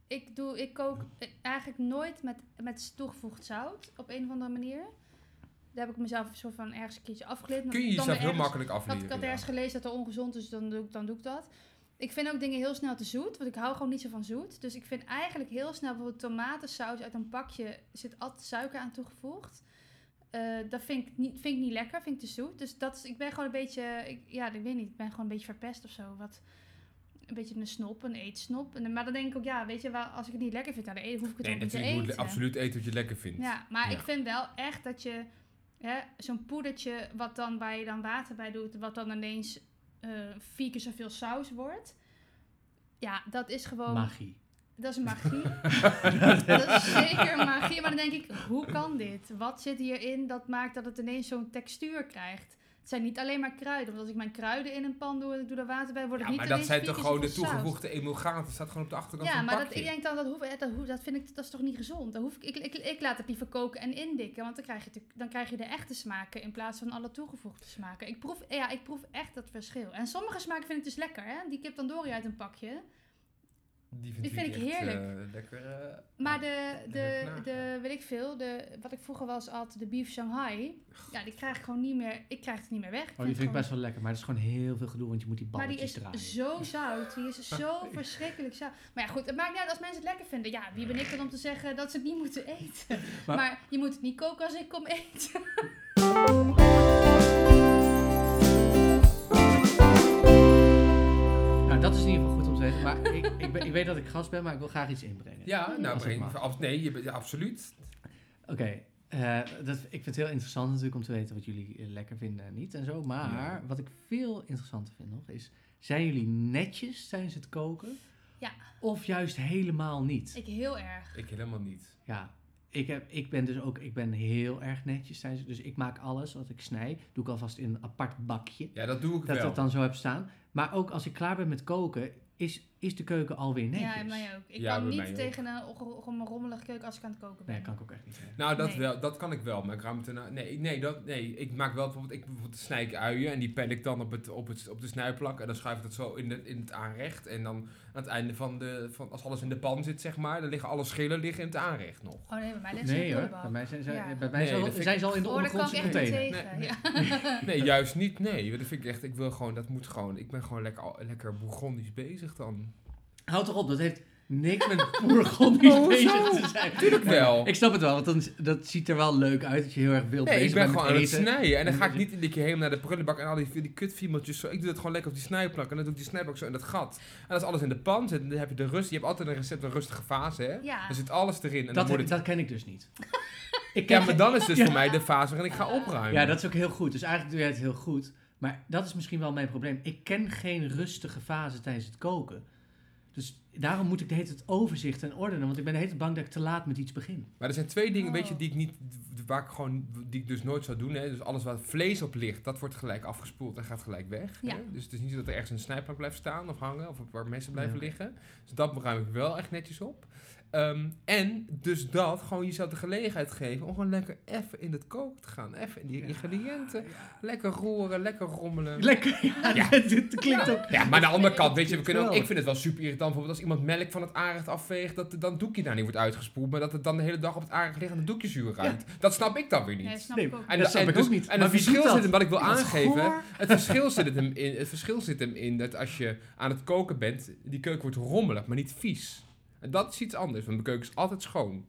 B: ik, doe, ik kook eh, eigenlijk nooit met, met toegevoegd zout op een of andere manier. Daar heb ik mezelf een soort van ergens een keertje afgeleerd. omdat
C: Kun je
B: ik dan
C: jezelf
B: weer ergens-
C: heel makkelijk
B: had, ik
C: afleren.
B: had
C: ja.
B: ergens gelezen dat er ongezond is, dan doe, ik, dan doe ik dat. Ik vind ook dingen heel snel te zoet, want ik hou gewoon niet zo van zoet. Dus ik vind eigenlijk heel snel bijvoorbeeld tomatensaus uit een pakje, zit altijd suiker aan toegevoegd. Eh, dat vind ik, niet, vind ik niet lekker, vind ik te zoet. Dus dat is, ik ben gewoon een beetje, ik, ja, ik weet niet, ik ben gewoon een beetje verpest of zo. Wat, een beetje een snop, een eetsnop. En, dan- maar dan denk ik ook, ja, weet je, wel, als ik het niet lekker vind, nou, dan hoef ik het
C: Nee,
B: ook niet te
C: natuurlijk
B: eten.
C: moet je absoluut eten wat je lekker vindt.
B: Ja, maar
C: Ja.
B: ik vind wel echt dat je hè, zo'n poedertje, wat dan, waar je dan water bij doet, wat dan ineens eh vier keer zoveel saus wordt. Ja, dat is gewoon,
D: Magie. Oh,
B: dat is magie. dat is zeker magie. Maar dan denk ik, hoe kan dit? Wat zit hierin dat maakt dat het ineens zo'n textuur krijgt? Het zijn niet alleen maar kruiden. Want als ik mijn kruiden in een pan doe en ik doe er water bij, wordt
C: Ja,
B: het niet
C: maar
B: ineens
C: dat zijn
B: vier
C: toch
B: keer
C: gewoon de
B: zoveel saus.
C: toegevoegde emulgaten. Dat staat gewoon op de achterkant
B: Ja,
C: van het
B: maar dat,
C: pakje.
B: ik denk dan, dat, hoef, eh, dat, hoef- dat vind ik dat is toch niet gezond. Dat hoef ik, ik, ik, ik laat het liever koken en indikken, want dan krijg, je, natuurlijk- dan krijg je de echte smaken in plaats van alle toegevoegde smaken. Ik proef, ja, ik proef echt dat verschil. En sommige smaken vind ik dus lekker, hè? die kip tandoori uit een pakje.
C: die vind,
B: die vind ik
C: echt, eh,
B: heerlijk.
C: lekker. eh,
B: Maar de, de,
C: knagen.
B: de weet ik veel, de, wat ik vroeger was altijd de beef Shanghai, ja, die krijg ik gewoon niet meer, ik krijg het niet meer weg.
D: Oh, die vind ik
B: gewoon-
D: best wel lekker, maar het is gewoon heel veel gedoe, want je moet die
B: Maar die
D: balletjes
B: is
D: draaien.
B: zo zout. Die is zo verschrikkelijk zout. Maar ja, goed, het maakt niet uit als mensen het lekker vinden. Ja, wie ben ik dan om te zeggen dat ze het niet moeten eten?
D: Maar-
B: Maar, je moet het niet koken als ik kom eten.
D: Nou, dat is in ieder geval goed om te weten. Maar ik, ik, ben- ik weet dat ik gast ben, maar ik wil graag iets inbrengen.
C: Ja, nou,
D: Als dat
C: breng,
D: mag.
C: ab- nee, je bent- ja, absoluut.
D: Oké, eh, dat ik vind het heel interessant natuurlijk om te weten wat jullie eh, lekker vinden en niet en zo. Maar
C: Ja.
D: wat ik veel interessanter vind nog is, zijn jullie netjes tijdens het koken?
B: Ja.
D: Of juist helemaal niet?
B: Ik heel erg.
C: Ik helemaal niet.
D: Ja, ik, heb, ik ben dus ook ik ben heel erg netjes tijdens Dus ik maak alles wat ik snij, doe ik alvast in een apart bakje.
C: Ja, dat doe ik
D: Dat
C: wel.
D: dat dan zo heb staan. Maar ook als ik klaar ben met koken, is, is de keuken alweer netjes.
B: Ja, en mij ook. Ik
C: Ja,
B: kan
C: bij mij
B: niet
C: ook.
B: tegen een, ro- ro- rommelige keuken als ik aan het koken ben.
D: Nee, kan ik ook echt niet. hebben.
C: Nou, dat,
B: Nee.
C: wel, dat kan ik wel. Maar ik ruim het erna- Nee, nee, dat, nee, ik maak wel bijvoorbeeld, ik, bijvoorbeeld snij ik uien en die pel ik dan op, het, op, het, op de snijplak. En dan schuif ik dat zo in, het in het aanrecht. En dan aan het einde van de, van, als alles in de pan zit, zeg maar, dan liggen alle schillen liggen in het aanrecht nog.
B: Oh nee, bij mij ligt ze
D: Nee
B: in de
D: hoor,
B: prullenbak.
D: bij mij zijn, zijn,
B: Ja.
D: bij mij
C: Nee,
D: zijn,
C: dat vind
D: zijn ze al in de
B: Oh, daar kan ik
D: ondergrondse
B: echt niet
D: container.
B: tegen.
C: Nee,
B: ja.
C: Nee, juist niet. Nee, dat vind ik echt, ik wil gewoon, dat moet gewoon, ik ben gewoon lekker, al- lekker bourgondisch bezig dan.
D: Houd toch op, dat heeft niks met Bourgondisch
C: Oh, hoezo?
D: bezig te zijn.
C: Tuurlijk wel.
D: Ik snap het wel, want dan, is- dat ziet er wel leuk uit dat je heel erg wild
C: Nee, ik
D: bezig
C: ben
D: bent
C: gewoon
D: met
C: aan het
D: eten.
C: snijden. En dan ga ik niet iedere keer helemaal naar de prullenbak en al die, die kutviemeltjes. Zo. Ik doe dat gewoon lekker op die snijplak. En dan doe ik die snijplak zo in dat gat. En als alles in de pan zit, dan heb je de rust. Je hebt altijd een recept, een rustige fase, hè?
B: Ja.
C: Dan zit alles erin. En
D: dat,
C: dan
D: heb-
C: wordt het...
D: dat ken ik dus niet. ik
C: Ja, maar dan is dus
D: Ja.
C: voor mij de fase waarin ik ga opruimen.
D: ja, dat is ook heel goed. Dus eigenlijk doe jij het heel goed. Maar dat is misschien wel mijn probleem. Ik ken geen rustige fase tijdens het koken. Dus daarom moet ik de hele tijd overzicht en ordenen. Want ik ben de hele tijd bang dat ik te laat met iets begin.
C: Maar er zijn twee dingen, weet je,
B: Oh.
C: die ik niet... Waar ik gewoon... Die ik dus nooit zou doen, hè? Dus alles waar vlees op ligt, dat wordt gelijk afgespoeld en gaat gelijk weg.
B: Ja.
C: Hè? Dus het is niet zo dat er ergens een snijplak blijft staan of hangen. Of waar messen blijven
D: Ja.
C: liggen. Dus dat ruim ik wel echt netjes op. Ehm, en dus dat, gewoon jezelf de gelegenheid geven om gewoon lekker even in het koken te gaan. Even in die
D: Ja.
C: ingrediënten. Lekker roeren, lekker rommelen.
D: Lekker, ja. dit klinkt ook...
C: Ja, maar aan de andere kant, weet je, we kunnen ook,
D: Wel.
C: ik vind het wel super irritant. Bijvoorbeeld als iemand melk van het aanrecht afveegt, dat dan doekje daar niet wordt uitgespoeld. Maar dat het dan de hele dag op het aanrecht ligt en het doekje zuur ruikt. Dat snap ik dan weer niet.
B: Nee, snap
D: Nee,
B: ik ook.
D: en dat snap ik ook niet.
C: En
D: Maar
C: het
D: wie doet
C: verschil
D: dat?
C: zit hem, wat ik wil
D: Ja, dat is
C: aangeven,
D: goor.
C: het verschil, zit hem in, het verschil zit hem in dat als je aan het koken bent, die keuken wordt rommelig, maar niet vies. En dat is iets anders, want mijn keuken is altijd schoon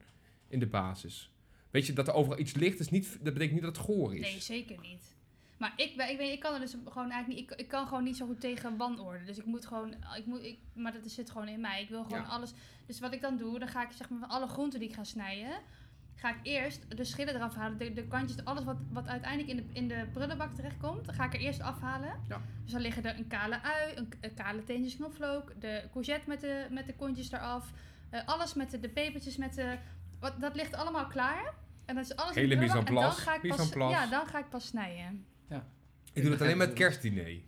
C: in de basis. Weet je, dat er overal iets ligt, is niet, dat betekent niet dat het goor is.
B: Nee, zeker niet. Maar ik, ben, ik, weet, ik kan er dus gewoon eigenlijk niet. Ik, ik kan gewoon niet zo goed tegen wanorde. Dus ik moet gewoon. Ik moet, ik, maar dat zit gewoon in mij. Ik wil gewoon
C: Ja.
B: alles. Dus wat ik dan doe, dan ga ik zeg maar van alle groenten die ik ga snijden. Ga ik eerst de schillen eraf halen, de, de kantjes, alles wat, wat uiteindelijk in de, in de prullenbak terechtkomt, ga ik er eerst afhalen.
C: Ja.
B: Dus dan liggen er een kale ui, een, een kale teentjes knoflook, de courgette met de, met de kontjes eraf, eh, alles met de, de pepertjes met de... Wat, dat ligt allemaal klaar. En dat is alles in
C: Hele
B: de prullenbak.
C: mise en place,
B: En dan ga ik
C: mise
B: pas,
C: en place.
B: Ja, dan ga ik pas snijden.
C: Ik doe dat alleen met het kerstdiner.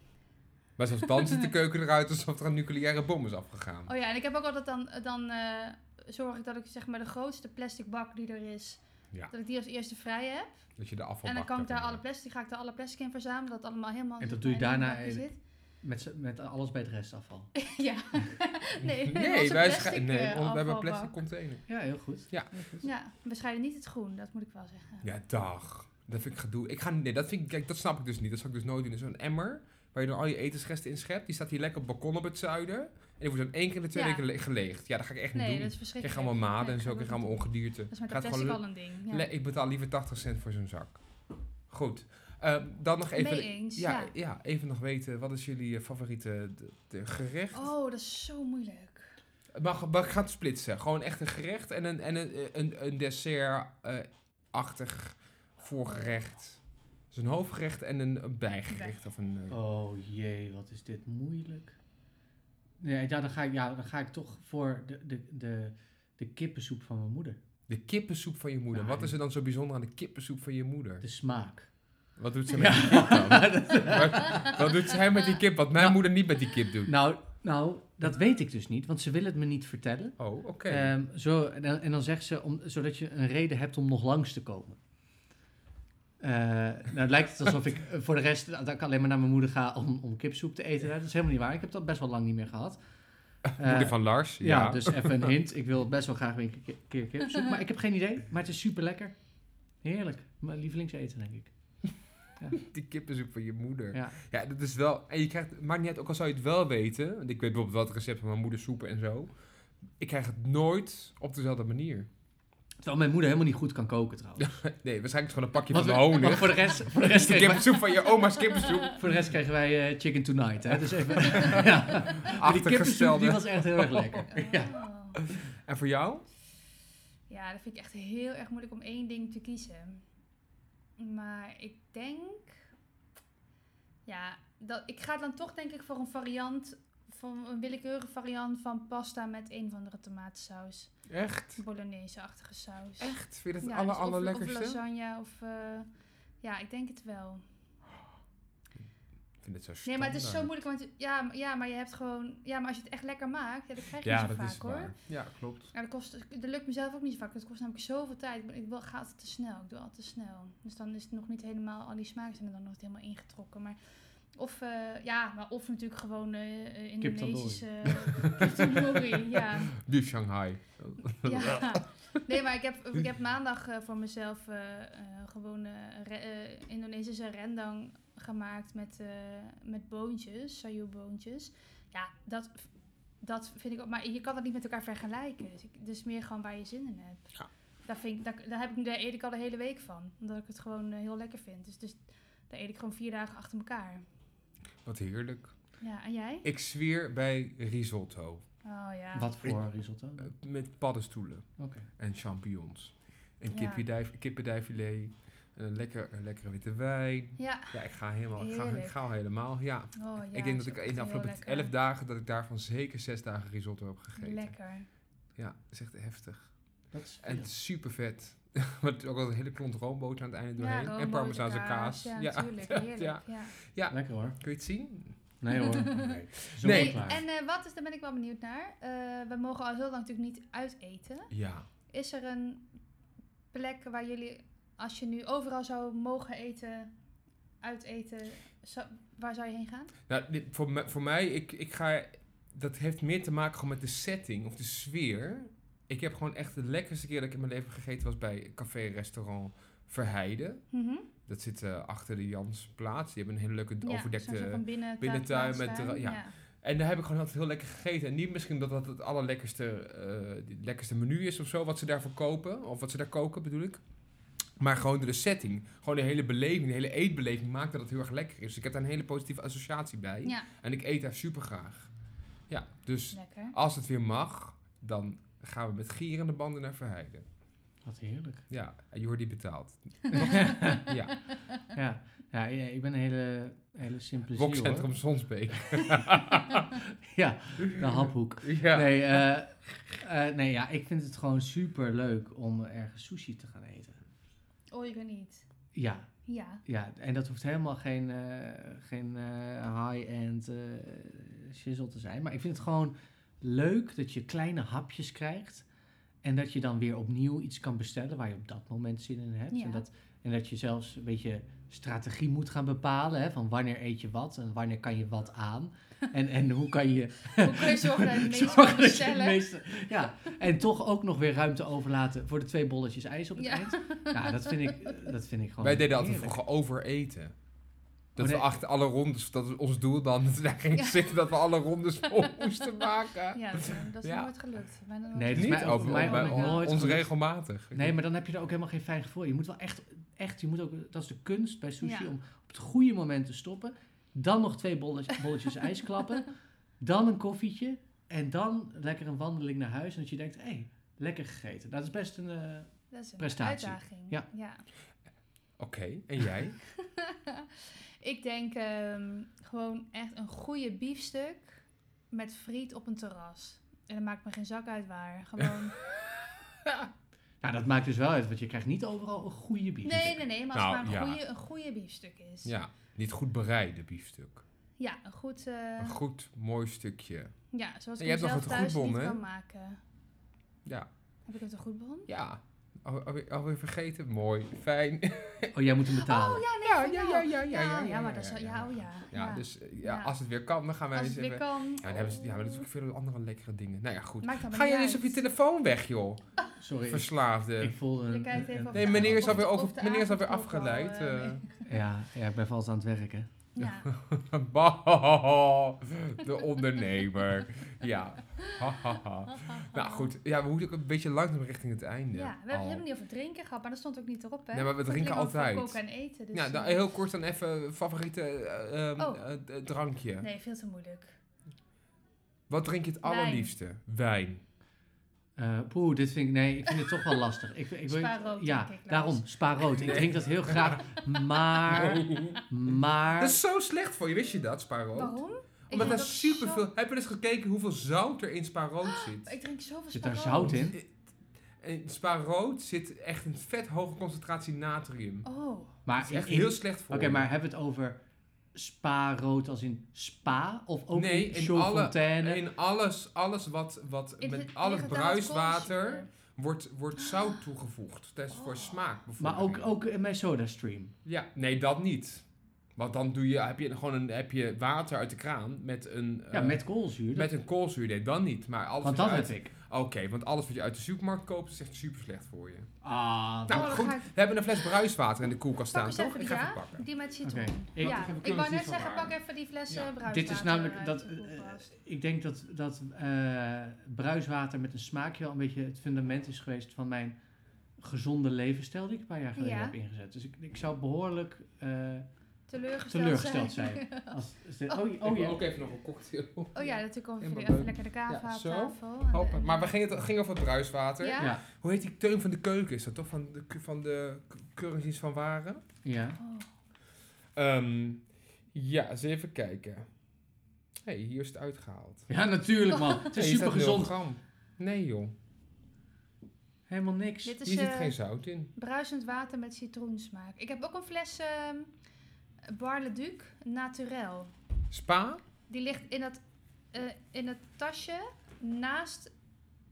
C: Maar zelfs dan zit de keuken eruit alsof er een nucleaire bom is afgegaan.
B: Oh ja, en ik heb ook altijd dan... dan eh, zorg ik dat ik zeg maar de grootste plastic bak die er is,
C: Ja.
B: dat ik die als eerste vrij heb.
C: Dat je de afval
B: en dan kan ik daar alle plastic, ga ik daar alle plastic in verzamelen, dat het allemaal helemaal...
D: En dat
B: zeg
D: doe je
B: maar, in een
D: daarna
B: bakje
D: in- Met, z'n- met alles bij het restafval.
B: zit. Ja. nee,
C: Nee, wij scha-
B: schrijven...
C: nee want we hebben een plastic container.
D: Ja, heel goed.
C: Ja.
D: Heel goed.
B: Ja, we scheiden niet het groen, dat moet ik wel zeggen.
C: Ja, dag. Dat vind ik gedoe. Ik ga, nee, dat, vind ik, kijk, dat snap ik dus niet. Dat zou ik dus nooit doen. Zo'n emmer waar je dan al je etensresten in schept. Die staat hier lekker op het balkon op het zuiden. En die wordt dan één keer in de twee
B: Ja.
C: weken le- geleegd. Ja, dat ga ik echt niet
B: Nee,
C: doen.
B: dat is
C: ik krijg
B: verschrikkelijk.
C: allemaal maden en
B: Nee,
C: zo. Ik
B: dat
C: krijg allemaal
B: doet-
C: ongedierte.
B: Dat is met
C: Gaat
B: dat plastic
C: gewoon
B: al een ding. Ja.
C: le- Ik betaal liever 80 cent voor zo'n zak. Goed. Ehm, dan nog even...
B: Mee eens,
C: ja,
B: ja.
C: even nog weten. Wat is jullie eh, favoriete de, de gerecht?
B: Oh, dat is zo moeilijk.
C: Maar, maar ik ga het splitsen. Gewoon echt een gerecht en een, en een, een, een dessert-achtig voorgerecht. Dus een hoofdgerecht en een, een bijgerecht. Of een, eh,
D: Oh jee, wat is dit moeilijk. Nee, ja, dan, ga ik, ja, dan ga ik toch voor de, de, de, de kippensoep van mijn moeder.
C: de kippensoep van je moeder.
D: Nou,
C: Wat is er dan zo bijzonder aan de kippensoep van je moeder?
D: De smaak.
C: Wat doet ze met die kip dan? wat, wat doet zij met die kip wat mijn moeder niet met die kip doet?
D: Nou, nou, dat weet ik dus niet, want ze wil het me niet vertellen.
C: Oh, oké.
D: Ehm, zo, en, dan- en dan zegt ze, om, zodat je een reden hebt om nog langs te komen. Eh, nou, het lijkt het alsof ik eh, voor de rest dat ik alleen maar naar mijn moeder ga om, om kipsoep te eten. Dat is helemaal niet waar. Ik heb dat best wel lang niet meer gehad.
C: moeder
D: Eh,
C: van Lars, ja.
D: Ja, dus even een hint. Ik wil best wel graag weer een keer- keer kip zoeken, maar ik heb geen idee. Maar het is super lekker. Heerlijk. Mijn lievelingseten, denk ik.
C: Die kippensoep van je moeder.
D: Ja.
C: Ja, dat is wel. En je krijgt. Maakt niet uit, ook al zou je het wel weten. Want ik weet bijvoorbeeld wel het recept van mijn moeder soepen en zo. Ik krijg het nooit op dezelfde manier.
D: Terwijl mijn moeder helemaal niet goed kan koken trouwens.
C: Nee, waarschijnlijk gewoon een pakje
D: Want
C: van de
D: we- want
C: honing.
D: voor de rest, voor de
C: Is
D: rest,
C: de
D: kregen, wij,
C: kippensoep van je oma's kippensoep.
D: voor de rest kregen wij eh, chicken tonight. Hè? Dus even, ja. Maar Die kippensoep die
C: Achtergestelde.
D: was echt heel erg lekker. Ja.
B: Oh.
C: En voor jou?
B: Ja, dat vind ik echt heel erg moeilijk om één ding te kiezen. Maar ik denk. Ja, dat, ik ga dan toch denk ik voor een variant. Van een willekeurige variant van pasta met een of andere tomatensaus.
C: Echt?
B: Bolognese-achtige saus.
C: Echt? Vind je dat
B: Ja,
C: het aller,
B: dus of-
C: allerlekkerste?
B: Of lasagne of. eh, ja, ik denk het wel.
C: ik vind het zo
B: Nee, maar het is zo
C: standaard.
B: moeilijk. Want ja, m- ja, maar je hebt gewoon. Ja, maar als je het echt lekker maakt, ja, dat krijg je
C: Ja,
B: niet zo
C: dat
B: vaak
C: is
B: hoor.
C: waar. Ja, klopt.
B: Ja, dat, kost, dat lukt mezelf ook niet zo vaak. Dat kost namelijk zoveel tijd. Ik, ben- ik wil, ga altijd te snel. Ik doe altijd te snel. Dus dan is het nog niet helemaal... Al die smaken zijn er dan nog niet helemaal ingetrokken. Maar, of, eh, ja, maar of natuurlijk gewoon eh, eh, Indonesische... eh, Kip tandoori, ja.
C: Nu Shanghai.
B: ja. Nee, maar ik heb, ik heb maandag eh, voor mezelf eh, eh, gewoon eh, re- eh, Indonesische rendang gemaakt met, eh, met boontjes. Sayur-boontjes. Ja, dat... Dat vind ik ook, maar je kan dat niet met elkaar vergelijken. Dus, ik, dus meer gewoon waar je zin in hebt.
C: Ja.
B: Daar, vind ik, daar, daar heb ik, nu- daar eet ik al de hele week van. Omdat ik het gewoon eh, heel lekker vind. Dus, dus daar eet ik gewoon vier dagen achter elkaar.
C: Wat heerlijk.
B: Ja, en jij?
C: Ik zweer bij risotto.
B: Oh ja.
D: Wat voor risotto?
C: Eh, Met paddenstoelen
D: Oké.
C: en champignons. En
B: Ja.
C: kippendijf- kippendijffilet. En een, lekker, een lekkere witte wijn.
B: Ja.
C: Ja, ik ga helemaal. Ik ga, ik
B: Heerlijk.
C: ga al helemaal. Ja.
B: Oh, ja,
C: ik denk
B: is
C: dat ik
B: ook
C: in
B: echt
C: de afgelopen
B: heel lekker.
C: elf dagen dat ik daarvan zeker zes dagen risotto heb gegeten.
B: Lekker.
C: Ja, dat is echt heftig.
D: Dat is
C: En
D: veel.
C: super vet. Want ook al een hele klont roomboter aan het einde doorheen. en
B: roomboter,
C: parmezaanse kaas.
B: Ja, natuurlijk. Heerlijk.
C: ja.
B: Ja.
D: Lekker hoor.
C: Kun je het zien?
D: Nee hoor.
B: Nee.
D: Zo
C: Nee.
D: nee. klaar.
B: en eh, wat is, daar ben ik wel benieuwd naar. Eh, we mogen al heel lang natuurlijk niet uiteten.
C: Ja.
B: Is er een plek waar jullie, als je nu overal zou mogen eten, uiteten, zou- waar zou je heen gaan?
C: Nou, dit, voor, mij- voor mij, ik, ik ga, dat heeft meer te maken gewoon met de setting of de sfeer. Ik heb gewoon echt de lekkerste keer dat ik in mijn leven gegeten was bij café restaurant Verheide.
B: Mhm.
C: Dat zit eh, achter de Jansplaats. Die hebben een hele leuke
B: Ja, zo'n soort
C: overdekte...
B: van binnen,
C: binnentuin met
B: plaatstuin,
C: terra- ja. En daar heb ik gewoon altijd heel lekker gegeten. En niet misschien dat dat het allerlekkerste eh, het lekkerste menu is of zo, wat ze daar verkopen. Of wat ze daar koken, bedoel ik. Maar gewoon door de setting. Gewoon de hele beleving, de hele eetbeleving maakt dat het heel erg lekker is. Dus Ik heb daar een hele positieve associatie bij.
B: Ja,
C: En ik eet daar super graag. Ja, dus
B: lekker.
C: als het weer mag, dan gaan we met gierende banden naar Verheiden.
D: Wat heerlijk.
C: Ja, en Jordi betaalt. ja,
D: dus Ja, ja, ja, ik ben een hele, hele simpele ziel. hoor.
C: Wokcentrum Sonsbeek.
D: Ja, de haphoek.
C: Ja.
D: Nee, eh, eh, nee ja, ik vind het gewoon super leuk om ergens sushi te gaan eten.
B: Oh, ik weet niet.
D: Ja,
B: Ja.
D: ja en dat hoeft helemaal geen, eh, geen eh, high-end eh shizzle te zijn. Maar ik vind het gewoon leuk dat je kleine hapjes krijgt. En dat je dan weer opnieuw iets kan bestellen waar je op dat moment zin in hebt.
B: Ja.
D: En, dat, en dat je zelfs een beetje strategie moet gaan bepalen. Hè, van wanneer eet je wat en wanneer kan je wat aan. En, en hoe kan je
B: Hoe kun je zorgen dat je het meest
D: Zorg
B: kan
D: dat je het
B: bestellen?
D: meeste- ja, en toch ook nog weer ruimte overlaten voor de twee bolletjes ijs op het
B: Ja.
D: eind. Ja, dat vind ik, dat vind ik gewoon.
C: Wij deden altijd
D: heerlijk.
C: vroeger overeten. Dat
D: Oh, nee.
C: we achter alle rondes, dat is ons doel dan, dat we daar ging
B: Ja.
C: zitten, dat we alle rondes vol moesten maken.
B: Ja, dat is
C: Ja.
B: nooit gelukt. Bijna nooit
D: Nee, dat is
C: Niet
D: mij ook-
C: over,
D: mij
C: bij
D: ook
C: on-
D: nooit
C: ons
D: gelukt.
C: regelmatig.
D: Nee, maar dan heb je er ook helemaal geen fijn gevoel. Je moet wel echt, echt je moet ook, dat is de kunst bij sushi,
B: Ja.
D: om op het goede moment te stoppen. Dan nog twee bolletjes, bolletjes ijs klappen. Dan een koffietje. En dan lekker een wandeling naar huis. En dat je denkt, hé, hey, lekker gegeten. Dat is best een... eh,
B: Dat is een
D: Prestatie.
B: uitdaging.
D: Ja.
C: Oké, en jij?
B: ik denk ehm, gewoon echt een goede biefstuk met friet op een terras. En dat maakt me geen zak uit waar. Gewoon...
D: nou, dat maakt dus wel uit, want je krijgt niet overal een goede bier.
B: Nee, nee, nee, maar als
C: Nou,
B: het maar
C: ja.
B: een, goede, een goede biefstuk is.
C: Ja, niet goed bereiden biefstuk.
B: Ja, een goed... eh,
C: Een goed, mooi stukje.
B: ja, zoals
C: En
B: ik hem
C: je hebt nog
B: zelf
C: het
B: thuis
C: goedbon,
B: niet
C: hè?
B: kan maken.
C: Ja,
B: Heb ik het een goed bon?
C: ja. Al- Alweer, alweer vergeten? Mooi, fijn.
D: Oh, jij moet hem betalen.
B: Oh ja, nee,
C: Ja,
B: van
C: ja,
B: jou.
C: ja, ja, ja, ja,
B: ja,
C: ja,
B: maar
C: ja,
B: dat is wel-
C: ja,
B: ja,
C: ja.
B: oh ja.
C: Ja, dus eh, ja,
B: Ja.
C: als het weer kan, dan gaan wij
B: Als
C: eens
B: het
C: even...
B: weer
C: Ja,
B: kan.
C: dan hebben ze, ja, maar natuurlijk veel andere lekkere dingen. Nou ja, goed.
B: Maakt allemaal
C: Ga jij
B: niet
C: eens op je
B: uit.
C: telefoon weg, joh.
D: Sorry, ik-
C: Verslaafde.
D: Ik voelde
B: Je
D: een...
B: kijkt even of
D: een-
C: eh, Nee,
B: de
C: meneer is
B: avond-
C: alweer,
B: of
C: over,
B: de
C: meneer is alweer
B: avond ook al,
C: afgeleid.
B: eh,
C: eh.
B: nee.
D: ja, ja, ik ben vast aan het werken.
B: Ja.
C: Bah, de ondernemer. Ja. Hahaha. nou goed, ja, we moeten ook een beetje langzaam richting het einde.
B: Ja, we
C: al.
B: hebben het niet over drinken gehad, maar dat stond ook niet erop, hè?
C: Nee, maar we
B: Het ging
C: drinken
B: over
C: altijd.
B: Koken en eten, dus
C: Ja, nou,
B: eh,
C: heel kort dan even favoriete eh, ehm,
B: Oh.
C: eh, d- drankje.
B: Nee, veel te moeilijk.
C: Wat drink je het
B: Wijn.
C: allerliefste? Wijn.
D: Eh, poeh, dit vind ik... Nee, ik vind het toch wel lastig. Ik, ik, wil-
B: Spa rood,
D: Ja,
B: denk ik, Lars.
D: daarom. Spa rood. Ik drink dat heel graag. Maar... Maar...
C: Dat is zo slecht voor je, wist je dat, spaarrood?
B: Waarom? Ik
C: Omdat
B: vind
C: daar
B: dat
C: superveel...
B: zo-
C: Heb je eens gekeken hoeveel zout er in spaarrood zit?
B: Ah,
C: eh,
B: Ik drink zoveel
D: Zit daar
B: spaarrood.
D: zout in?
C: In spaarrood zit echt een vet hoge concentratie natrium.
B: Oh,
C: dat
D: Maar
C: is
D: in-
C: echt
D: in-
C: heel slecht voor
D: Oké,
C: je.
D: maar hebben we het over spa rood als in spa? Of ook
C: Nee,
D: in
C: in alle-
D: Chaudfontaine?
C: In alles, alles wat, wat
B: in
C: met
B: het-
C: al het
B: ligt het aan het
C: bruiswater
B: koolzuur? Ah. Oh.
C: wordt, wordt zout toegevoegd. Dat is voor smaak bijvoorbeeld.
D: maar ook, ook in mijn SodaStream.
C: Ja, nee, dat niet. Want dan doe je, heb, je gewoon een, heb je water uit de kraan met een...
D: Ja,
C: eh,
D: met koolzuur.
C: met een koolzuur, nee, dan niet. Maar alles
D: want
C: wat
D: dat
C: je
D: heb
C: uit-
D: ik.
C: Oké, want alles wat je uit de supermarkt koopt is echt super slecht voor je.
D: Ah,
C: Nou
B: Oh, dan
C: goed,
B: ga ik-
C: we hebben een fles bruiswater in de koelkast
B: pak
C: staan,
B: eens
C: toch?
B: even
C: Ik
B: die,
C: ga even
B: ja?
C: pakken.
B: Die met citroen.
D: Oké. Ik-
B: ja,
D: ik heb- ik
B: ik
D: kan
B: wou net
D: het niet van
B: zeggen,
D: waar.
B: pak even die fles
C: Ja.
B: eh, bruiswater.
D: Dit is namelijk
B: uit
D: dat.
B: de
D: eh,
B: koelkast.
D: ik denk dat, dat eh, bruiswater met een smaakje wel een beetje het fundament is geweest van mijn gezonde levensstijl die ik een paar jaar geleden
B: Ja.
D: heb ingezet. Dus ik, ik zou behoorlijk eh,
B: teleurgesteld,
D: teleurgesteld
B: zijn.
D: zijn. Als, als de- oh, oh
C: Ik wil
D: ja.
C: ook even nog een cocktail.
B: Oh ja, natuurlijk komen we
C: Helemaal
B: weer even
C: leuk.
B: lekker de kava
C: Ja,
B: op
C: zo.
B: tafel. En-
C: Hoppa.
B: en-
C: Oh,
B: eh,
C: Maar we gingen, het ging over het bruiswater.
B: Ja?
D: Ja.
C: Hoe heet die teun van de keuken is dat toch? Van de, van de k- keuringsdienst van waren?
D: ja.
B: Oh,
C: Ehm, ja, eens even kijken. hey, hier is het uitgehaald.
D: Ja, natuurlijk man. Het is
C: Hey, hier staat
D: super gezond.
C: 0 gram. Nee joh,
D: Helemaal niks.
B: dit is
C: hier zit
B: eh,
C: geen zout in.
B: bruisend water met citroensmaak. Ik heb ook een fles ehm Barle Duc Naturel.
C: Spa?
B: Die ligt in dat, eh, in dat tasje naast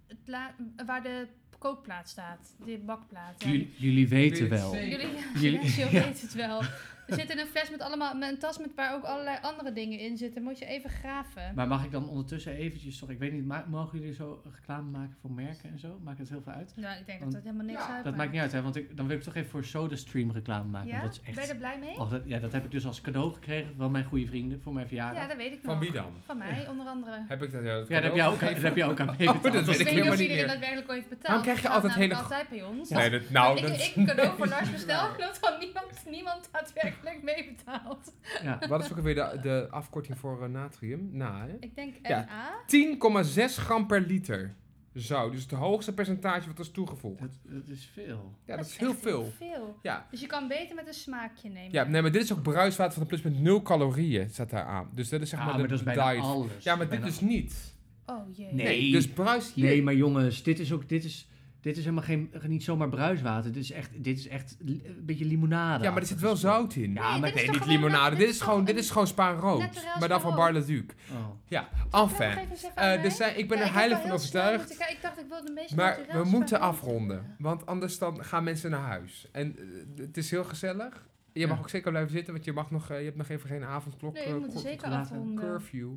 B: het la- waar de kookplaat staat. De bakplaat. ja.
D: Jullie, jullie weten
C: Weet ik
D: wel.
C: zeker.
B: Jullie, ja,
D: Jullie-
B: Genesio
D: ja.
B: weet het wel. Er zit in een fles met allemaal, met een tas met waar ook allerlei andere dingen in zitten. Moet je even graven.
D: Maar mag ik dan ondertussen eventjes, toch, ik weet niet, ma- mogen jullie zo reclame maken voor merken en zo? Maakt het heel veel uit?
B: Nou, ik denk dat
D: Want-
B: dat helemaal niks
C: Ja,
B: uitmaakt.
D: Dat maakt niet uit, hè, want ik, dan wil ik toch even voor SodaStream reclame maken.
B: Ja?
D: want Dat is echt...
B: Ben je er blij mee?
D: Oh, dat, ja, dat heb ik dus als cadeau gekregen van mijn goede vrienden voor mijn verjaardag.
B: ja,
D: Ja,
B: dat weet ik nog.
C: Van wie dan?
B: Van mij, onder andere.
C: Heb ik dat? Ja, dat
D: daar, heb jij ook, daar heb jij ook aan meegedaan.
C: Oh, dat was
B: Ik weet
C: ik
B: niet
C: helemaal
B: of
C: niet
B: iedereen
C: meer.
B: daadwerkelijk ooit betaalt.
C: Waarom krijg je
B: Dat
C: altijd
B: gaat namelijk
C: hele
B: altijd bij ons.
C: Nee, dat, nou, dat,
B: ik, ik een cadeau voor Lars bestel, dat dan niemand, niemand daadwerkelijk meebetaalt.
D: Ja.
C: Wat is ook alweer de, de afkorting voor eh, natrium? Na, hè?
B: Ik denk
C: Ja.
B: NA.
C: 10,6 gram per liter zout. Dus het hoogste percentage wat is toegevoegd.
D: Dat, dat is veel.
C: Ja, dat is
B: echt
C: heel veel.
B: veel.
C: Ja.
B: Dus je kan beter met een smaakje nemen.
C: Ja, nee, maar dit is ook bruiswater van de plus met 0 calorieën staat daar aan. Dus dat is zeg
D: Ja,
C: maar,
D: Ah, maar
C: de
D: dat is bijna
C: diet.
D: alles.
C: Ja, maar dit
D: Bijna-
C: dus niet.
B: Oh jee.
D: Nee.
C: Dus bruis hier.
D: Nee, maar jongens, dit is ook, dit is, dit is helemaal geen, niet zomaar bruiswater. Dit is echt, dit is echt li- een beetje limonade.
C: ja, maar er zit wel zout in.
D: Ja, maar
B: dit is
C: Nee,
B: toch
C: niet
B: gewoon-
C: limonade. Dit is gewoon,
B: toch
C: dit
B: een-
C: is gewoon spaanrood.
B: Naturel
C: Maar dan van
B: Spaanrood.
C: Bar le Duc.
D: Oh.
C: Ja,
B: Ja,
C: enfin.
B: geef eens even aan
C: Eh
B: mij.
C: dus zij- ik ben
B: Ja,
C: er
B: heb wel
C: heilig van
B: heel snel
C: overtuigd.
B: moeten kijken. Ik dacht, ik wil de meest
C: Maar
B: naturel
C: we
B: zijn.
C: moeten afronden. Want anders dan gaan mensen naar huis. En eh, het is heel gezellig. Je mag
D: Ja.
C: ook zeker blijven zitten, want je, mag nog, eh, je hebt nog even geen avondklok.
B: Nee,
C: eh,
B: we moeten
C: cur-
B: zeker
D: laten
B: afronden.
C: Curfew.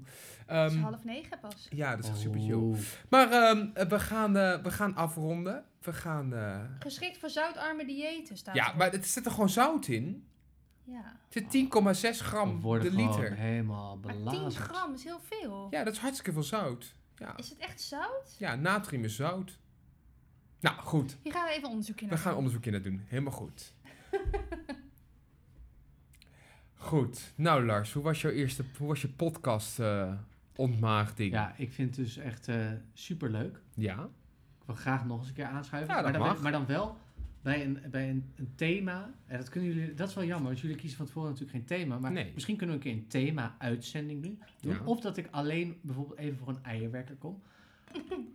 B: Het is
C: Ehm,
B: half negen pas.
C: ja, dat is echt super
D: Oh.
C: chill. Maar ehm, eh, we, gaan, eh, we gaan afronden. We gaan... eh,
B: Geschikt voor zoutarme diëten staat
C: ja,
B: erop.
C: maar het zit er gewoon zout in.
B: Ja.
C: Het zit 10,6
D: We
C: gram
D: worden
C: de
D: gewoon
C: liter.
D: helemaal
B: Maar
D: belazerd.
B: 10 gram is heel veel.
C: Ja, dat is hartstikke veel zout. Ja,
B: Is het echt zout?
C: ja natrium is zout. Nou, goed.
B: Hier gaan we even onderzoek in
C: We
B: doen.
C: gaan onderzoek in dat doen. Helemaal goed. goed. Nou, Lars, hoe was jouw eerste hoe was je podcast eh ontmaagding?
D: Ja, ik vind het dus echt super superleuk.
C: Ja?
D: Ik wil graag nog eens een keer aanschuiven.
C: Ja, dat
D: maar, dan,
C: mag.
D: maar dan wel bij een, bij een, een thema. En dat, kunnen jullie, dat is wel jammer, want jullie kiezen van tevoren natuurlijk geen thema. Maar
C: Nee.
D: misschien kunnen we een keer een thema-uitzending doen.
C: Ja.
D: Of dat ik alleen bijvoorbeeld even voor een eierwerker kom.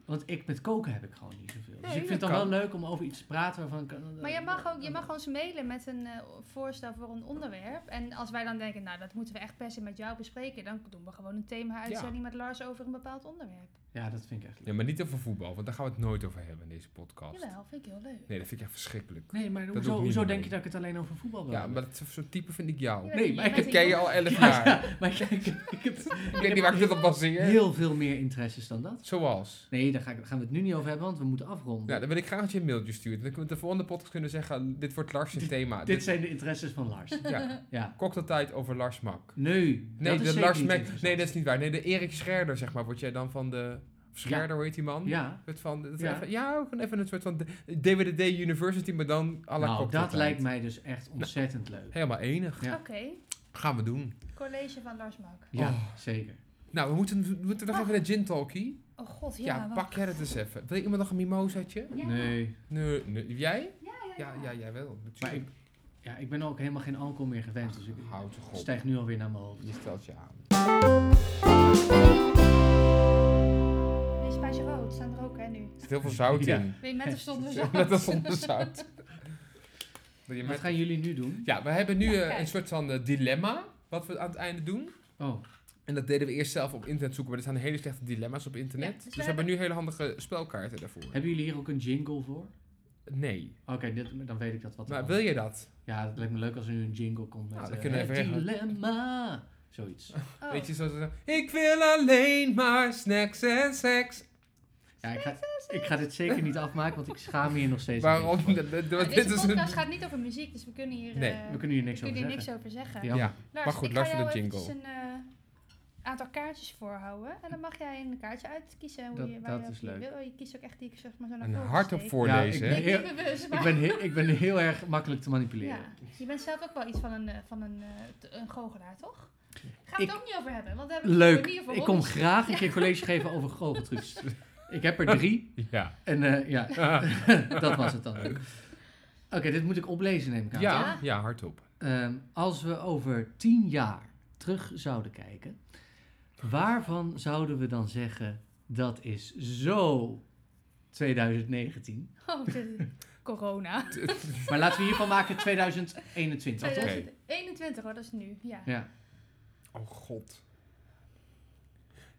D: Want ik, met koken heb ik gewoon niet zoveel. Dus
C: Nee,
D: ik vind
C: dat
D: het dan
C: kan.
D: wel leuk om over iets te praten waarvan ik... eh,
B: Maar je mag, ook, je mag ons mailen met een eh, voorstel voor een onderwerp. En als wij dan denken, nou dat moeten we echt per se met jou bespreken. Dan doen we gewoon een thema-uitzending met Lars over een bepaald onderwerp.
D: Ja, dat vind ik echt leuk.
C: ja, maar niet over voetbal, want daar gaan we het nooit over hebben in deze podcast.
B: Jawel, vind ik heel leuk.
C: Nee, dat vind ik echt verschrikkelijk.
D: Nee, maar
C: doe
D: hoezo,
C: ik niet
D: hoezo
C: mee.
D: denk je dat ik het alleen over voetbal wil
C: Ja,
D: hebben?
C: maar dat- zo'n type vind ik jou.
B: Je
D: Nee,
B: bent-
D: maar
B: je
D: ik
B: bent
C: Ik
B: een
C: ken je
B: jong-
C: al 11
D: Ja,
C: jaar.
D: maar ik, ik, ik, heb-
C: Ik weet niet waar ik dit op baseer.
D: heel veel meer interesses dan dat.
C: Zoals? was.
D: Nee, daar, ga ik, daar gaan we het nu niet over hebben, want we moeten afronden.
C: Ja, dan wil ik graag dat je een mailtje stuurt. Dan kunnen we de volgende podcast kunnen zeggen, Ah, dit wordt Lars' thema.
D: Dit zijn de interesses van Lars.
C: Ja,
D: Ja.
C: cocktailtijd over Lars Mak.
D: Nee,
C: Nee,
D: dat is
C: de
D: zeker
C: Lars
D: niet
C: Mak.
D: interessant.
C: Nee, dat is niet waar. Nee, de Erik Scherder, zeg maar, word jij dan van de... of Scherder, hoe heet die man?
D: Ja,
C: Het van, dat
D: Ja.
C: Even, ja, ook even een soort van DWDD University, maar dan à la
D: nou,
C: cocktailtijd.
D: dat lijkt mij dus echt
C: Nou.
D: ontzettend leuk.
C: Helemaal enig.
D: Ja.
B: Oké,
C: Gaan we doen.
B: college van Lars Mak.
D: Ja,
C: Oh.
D: zeker.
C: Nou, we moeten, we moeten nog even naar gin talkie.
B: Oh god, ja.
C: Ja,
B: wacht.
C: pak jij dat eens even. Wil iemand nog een mimosaatje?
B: Ja.
D: Nee.
C: Nee, nee. Jij? Ja, ja, jij wel.
D: Maar ik,
C: Natuurlijk.
D: ja, ik ben ook helemaal geen alcohol meer gewend, dus ik
C: Houd toch op.
D: stijg nu alweer naar mijn hoofd.
C: Je stelt je aan.
B: Nee, Spaanse rood staan er ook hè nu.
C: Er zit heel veel zout
D: Ja.
C: in.
B: Weet je, met of zonder zout.
C: Net als zonder zout. Wil je
D: Wat
C: met-
D: gaan jullie nu doen?
C: Ja, we hebben nu eh,
B: kijk.
C: een soort van eh, dilemma wat we aan het einde doen.
D: Oh,
C: En dat deden we eerst zelf op internet zoeken, maar er staan hele slechte dilemma's op internet.
B: Ja, dus
C: dus
B: we
C: we hebben nu hele handige spelkaarten daarvoor.
D: hebben jullie hier ook een jingle voor?
C: Nee.
D: Oké, dit- dan weet ik dat wat. er
C: Maar
D: komt.
C: wil je dat?
D: Ja, dat lijkt me leuk als er nu een jingle komt met
C: Nou, dan
D: eh,
C: kunnen we
D: het
C: even
D: dilemma. Zoiets.
B: Oh.
C: Weet je, zoals ze zeggen, ik wil alleen maar snacks en seks.
D: Ja, ik ga, ik ga dit zeker niet afmaken, want ik schaam me hier nog steeds. een
C: Waarom?
D: beetje voor.
B: Maar
C: Dit
B: deze
C: is
B: podcast
C: een...
B: gaat niet over muziek, dus we kunnen hier,
C: Nee,
B: eh,
D: We kunnen hier niks
B: we
D: over
B: kunnen hier
D: zeggen.
B: niks over zeggen.
D: Ja.
C: Ja,
B: Lars,
C: Maar goed,
B: ik
C: Lars
B: ga
C: met
B: jou
C: een
B: eventjes
C: jingle.
B: een eh, aantal kaartjes voorhouden. En dan mag jij een kaartje uitkiezen hoe
D: Dat-
B: je, waar
D: dat
B: je,
D: is
B: je
D: leuk.
B: wil. Oh, Je kiest ook echt die ik zeg maar zo naar
C: Een
B: voren
C: hart op
B: steek.
C: voorlezen.
D: Ja,
C: hè?
B: Ik
D: Heel-
B: ben niet bewust,
D: Ik
B: maar-
D: ben, heel, ik ben heel erg makkelijk te manipuleren.
B: ja. Je bent zelf ook wel iets van een, eh, van een, eh, t- een goochelaar, toch? Gaan we
D: Ik-
B: het ook niet over hebben, want we hebben het
D: Leuk.
B: over hier voor
D: Ik kom
B: hobby's.
D: graag een keer college geven over goocheltrucs. Ik heb er drie.
C: Ja.
D: En eh, ja, dat was het dan. ook. Oké, dit moet ik oplezen neem ik aan.
C: Ja, ja, hardop.
D: Ehm, als we over tien jaar terug zouden kijken, waarvan zouden we dan zeggen dat is zo 2019?
B: Oh, dit- corona.
D: Maar laten we hiervan maken 2021. toch?
B: 2021 hoor, dat is nu. Ja.
D: Ja.
C: Oh god.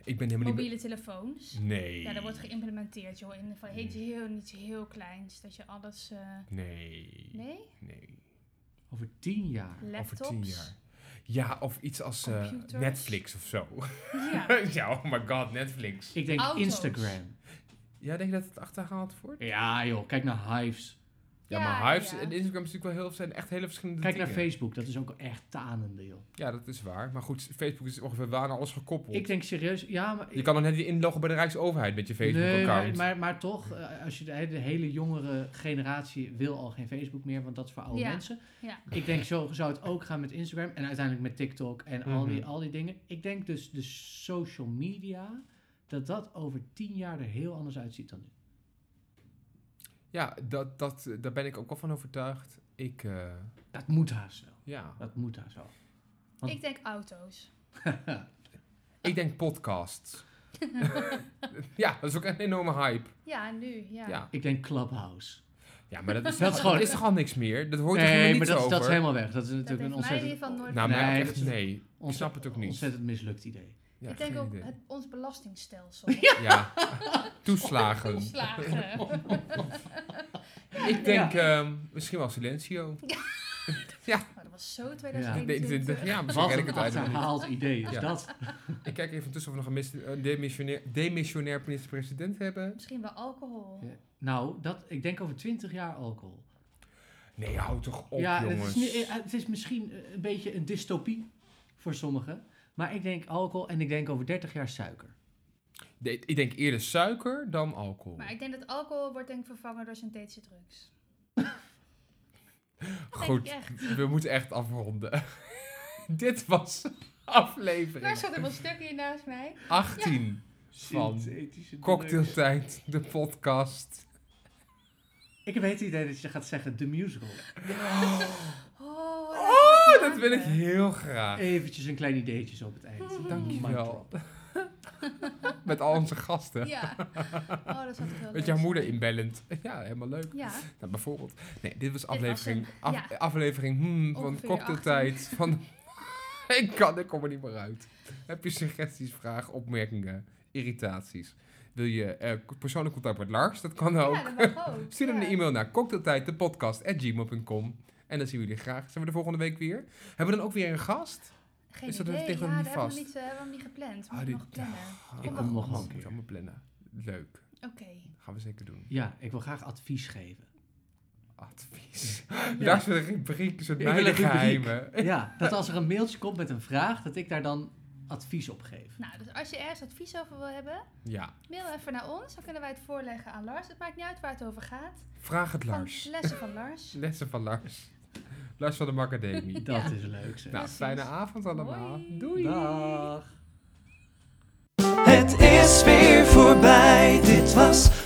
C: Ik ben helemaal niet...
B: Mobiele telefoons.
C: be- Nee.
B: Ja, dat wordt geïmplementeerd, joh. In van heet heel iets heel kleins. Dat je alles. eh,
C: Nee.
B: nee?
C: Nee.
D: Over tien jaar.
B: Laptops.
C: Over tien jaar. Ja, of iets als eh,
B: Computers.
C: Netflix of zo.
B: Ja.
C: ja, oh my god, Netflix.
D: Ik denk
B: Auto's.
D: Instagram.
C: Ja, denk je dat het achterhaald wordt?
D: Ja joh, kijk naar Hives.
C: Ja,
B: Ja,
C: maar Hives
B: ja.
C: en Instagram is natuurlijk wel heel, zijn echt hele verschillende
D: Kijk naar
C: dingen.
D: Facebook, dat is ook echt tanende joh.
C: Ja, dat is waar. Maar goed, Facebook is ongeveer waar aan alles gekoppeld.
D: Ik denk serieus, ja maar...
C: je kan dan net niet inloggen bij de Rijksoverheid met je
D: Nee,
C: Facebook-account.
D: maar, maar, maar toch, eh, als je de, de hele jongere generatie wil al geen Facebook meer, want dat is voor oude
B: Ja,
D: mensen.
B: ja.
D: Ik denk zo zou het ook gaan met Instagram en uiteindelijk met TikTok en al,
C: Mhm.
D: die, al die dingen. Ik denk dus de social media, dat dat over tien jaar er heel anders uitziet dan nu.
C: Ja, dat, dat, eh, daar ben ik ook wel van overtuigd. Ik, eh,
D: Dat moet haast wel.
C: ja.
D: Dat moet haast wel. Want-
B: Ik denk auto's.
C: Ik denk podcasts. ja, dat is ook een enorme hype.
B: Ja, nu. Ja.
C: Ja,
D: Ik denk Clubhouse.
C: ja maar dat is,
D: Dat
C: dat
D: is
C: is,
D: gewoon-
C: toch al niks meer? Dat hoort er
D: nee,
C: helemaal
D: maar
C: niet
D: dat, is-
C: over?
D: dat is helemaal weg. Dat is
B: Dat
D: natuurlijk
B: heeft
D: een
B: mij in
D: ontzettend,
B: ieder geval nooit.
C: Nou, maar
D: Nee,
C: echt,
D: dat is-
C: nee. Ik snap het ook niet.
D: ontzettend mislukt idee.
C: Ja,
B: ik denk
C: geen
B: ook
C: idee.
B: het, ons belastingstelsel.
C: Ja, toeslagen.
B: Toeslagen.
C: Ik denk ehm, misschien wel Silencio.
B: Maar dat was zo
C: Ik denk- ik
B: 2021.
C: denk- Ja, misschien
D: Wat
C: ken ik
D: een
C: het eigenlijk niet.
D: achterhaald idee is
C: Ja.
D: dat.
C: Ik kijk even tussen of we nog een mis- een demissionair, demissionair minister-president hebben.
B: Misschien wel alcohol.
D: Ja. Nou, dat, ik denk over twintig jaar alcohol.
C: Nee, hou toch op,
D: ja, het
C: jongens.
D: is, nu- eh, het is misschien eh, een beetje een dystopie voor sommigen. Maar ik denk alcohol en ik denk over 30 jaar suiker.
C: Nee, ik denk eerder suiker dan alcohol.
B: Maar ik denk dat alcohol wordt denk ik vervangen door synthetische drugs. Dat denk
C: Goed,
B: ik echt.
C: we moeten echt afronden. Dit was aflevering
B: Daar zat er wel stuk hier naast mij.
C: 18 van Cocktailtijd, de podcast.
D: Ik heb het idee dat je gaat zeggen de musical.
B: Oh,
C: Oh, dat wil ik heel graag.
D: Eventjes een klein ideetje op het eind.
C: Mm-hmm. Dankjewel. Met al onze gasten.
B: Ja. Oh, dat zat ik heel
C: Met
B: leuk.
C: jouw moeder inbellend. Ja, helemaal leuk.
B: Ja.
C: Nou, bijvoorbeeld. Nee, dit was
B: was
C: aflevering,
B: hem,
C: af-
B: ja.
C: aflevering hmm, van
B: Ongeveer
C: cocktailtijd. Van, ik kan, ik kom er niet meer uit. Heb je suggesties, vragen, opmerkingen, irritaties? Wil je eh, persoonlijk contact met Lars? Dat kan ook.
B: Ja, dat eh, mag ook.
C: Stuur dan
B: Ja.
C: een e-mail naar cocktailtijddepodcast.gmail.com. En dan zien we jullie graag. Zijn we de volgende week weer? Hebben we dan ook weer een gast?
B: Geen
C: Is dat
B: idee.
C: tegen
B: ja,
C: hem
B: daar
C: vast?
B: hebben we, niet, eh, hebben we hem niet gepland. Moet
C: Ah,
B: ik
C: dit-
B: nog plannen.
C: Ah,
D: Ik kom nog wel een
C: moet
D: keer.
C: allemaal plannen. leuk.
B: Oké.
C: Gaan we zeker doen.
D: Ja, ik wil graag advies geven.
C: Advies. Daar is een rubriek, een soort
D: Ik wil een
C: mijne
D: rubriek.
C: geheimen.
D: Ja, dat als er een mailtje komt met een vraag, dat ik daar dan advies op geef.
B: Nou, dus als je ergens advies over wil hebben,
C: Ja,
B: mail even naar ons. Dan kunnen wij het voorleggen aan Lars. Het maakt niet uit waar het over gaat.
C: vraag het
B: Van
C: Lars.
B: lessen van Oh, Lars.
C: Lessen van Lars. Lars van de Macademie.
D: Dat
B: Ja.
D: is leuk zeg.
C: Nou,
B: Precies.
C: fijne avond allemaal.
B: Hoi.
C: Doei.
D: Dag.
A: Het is weer voorbij, dit was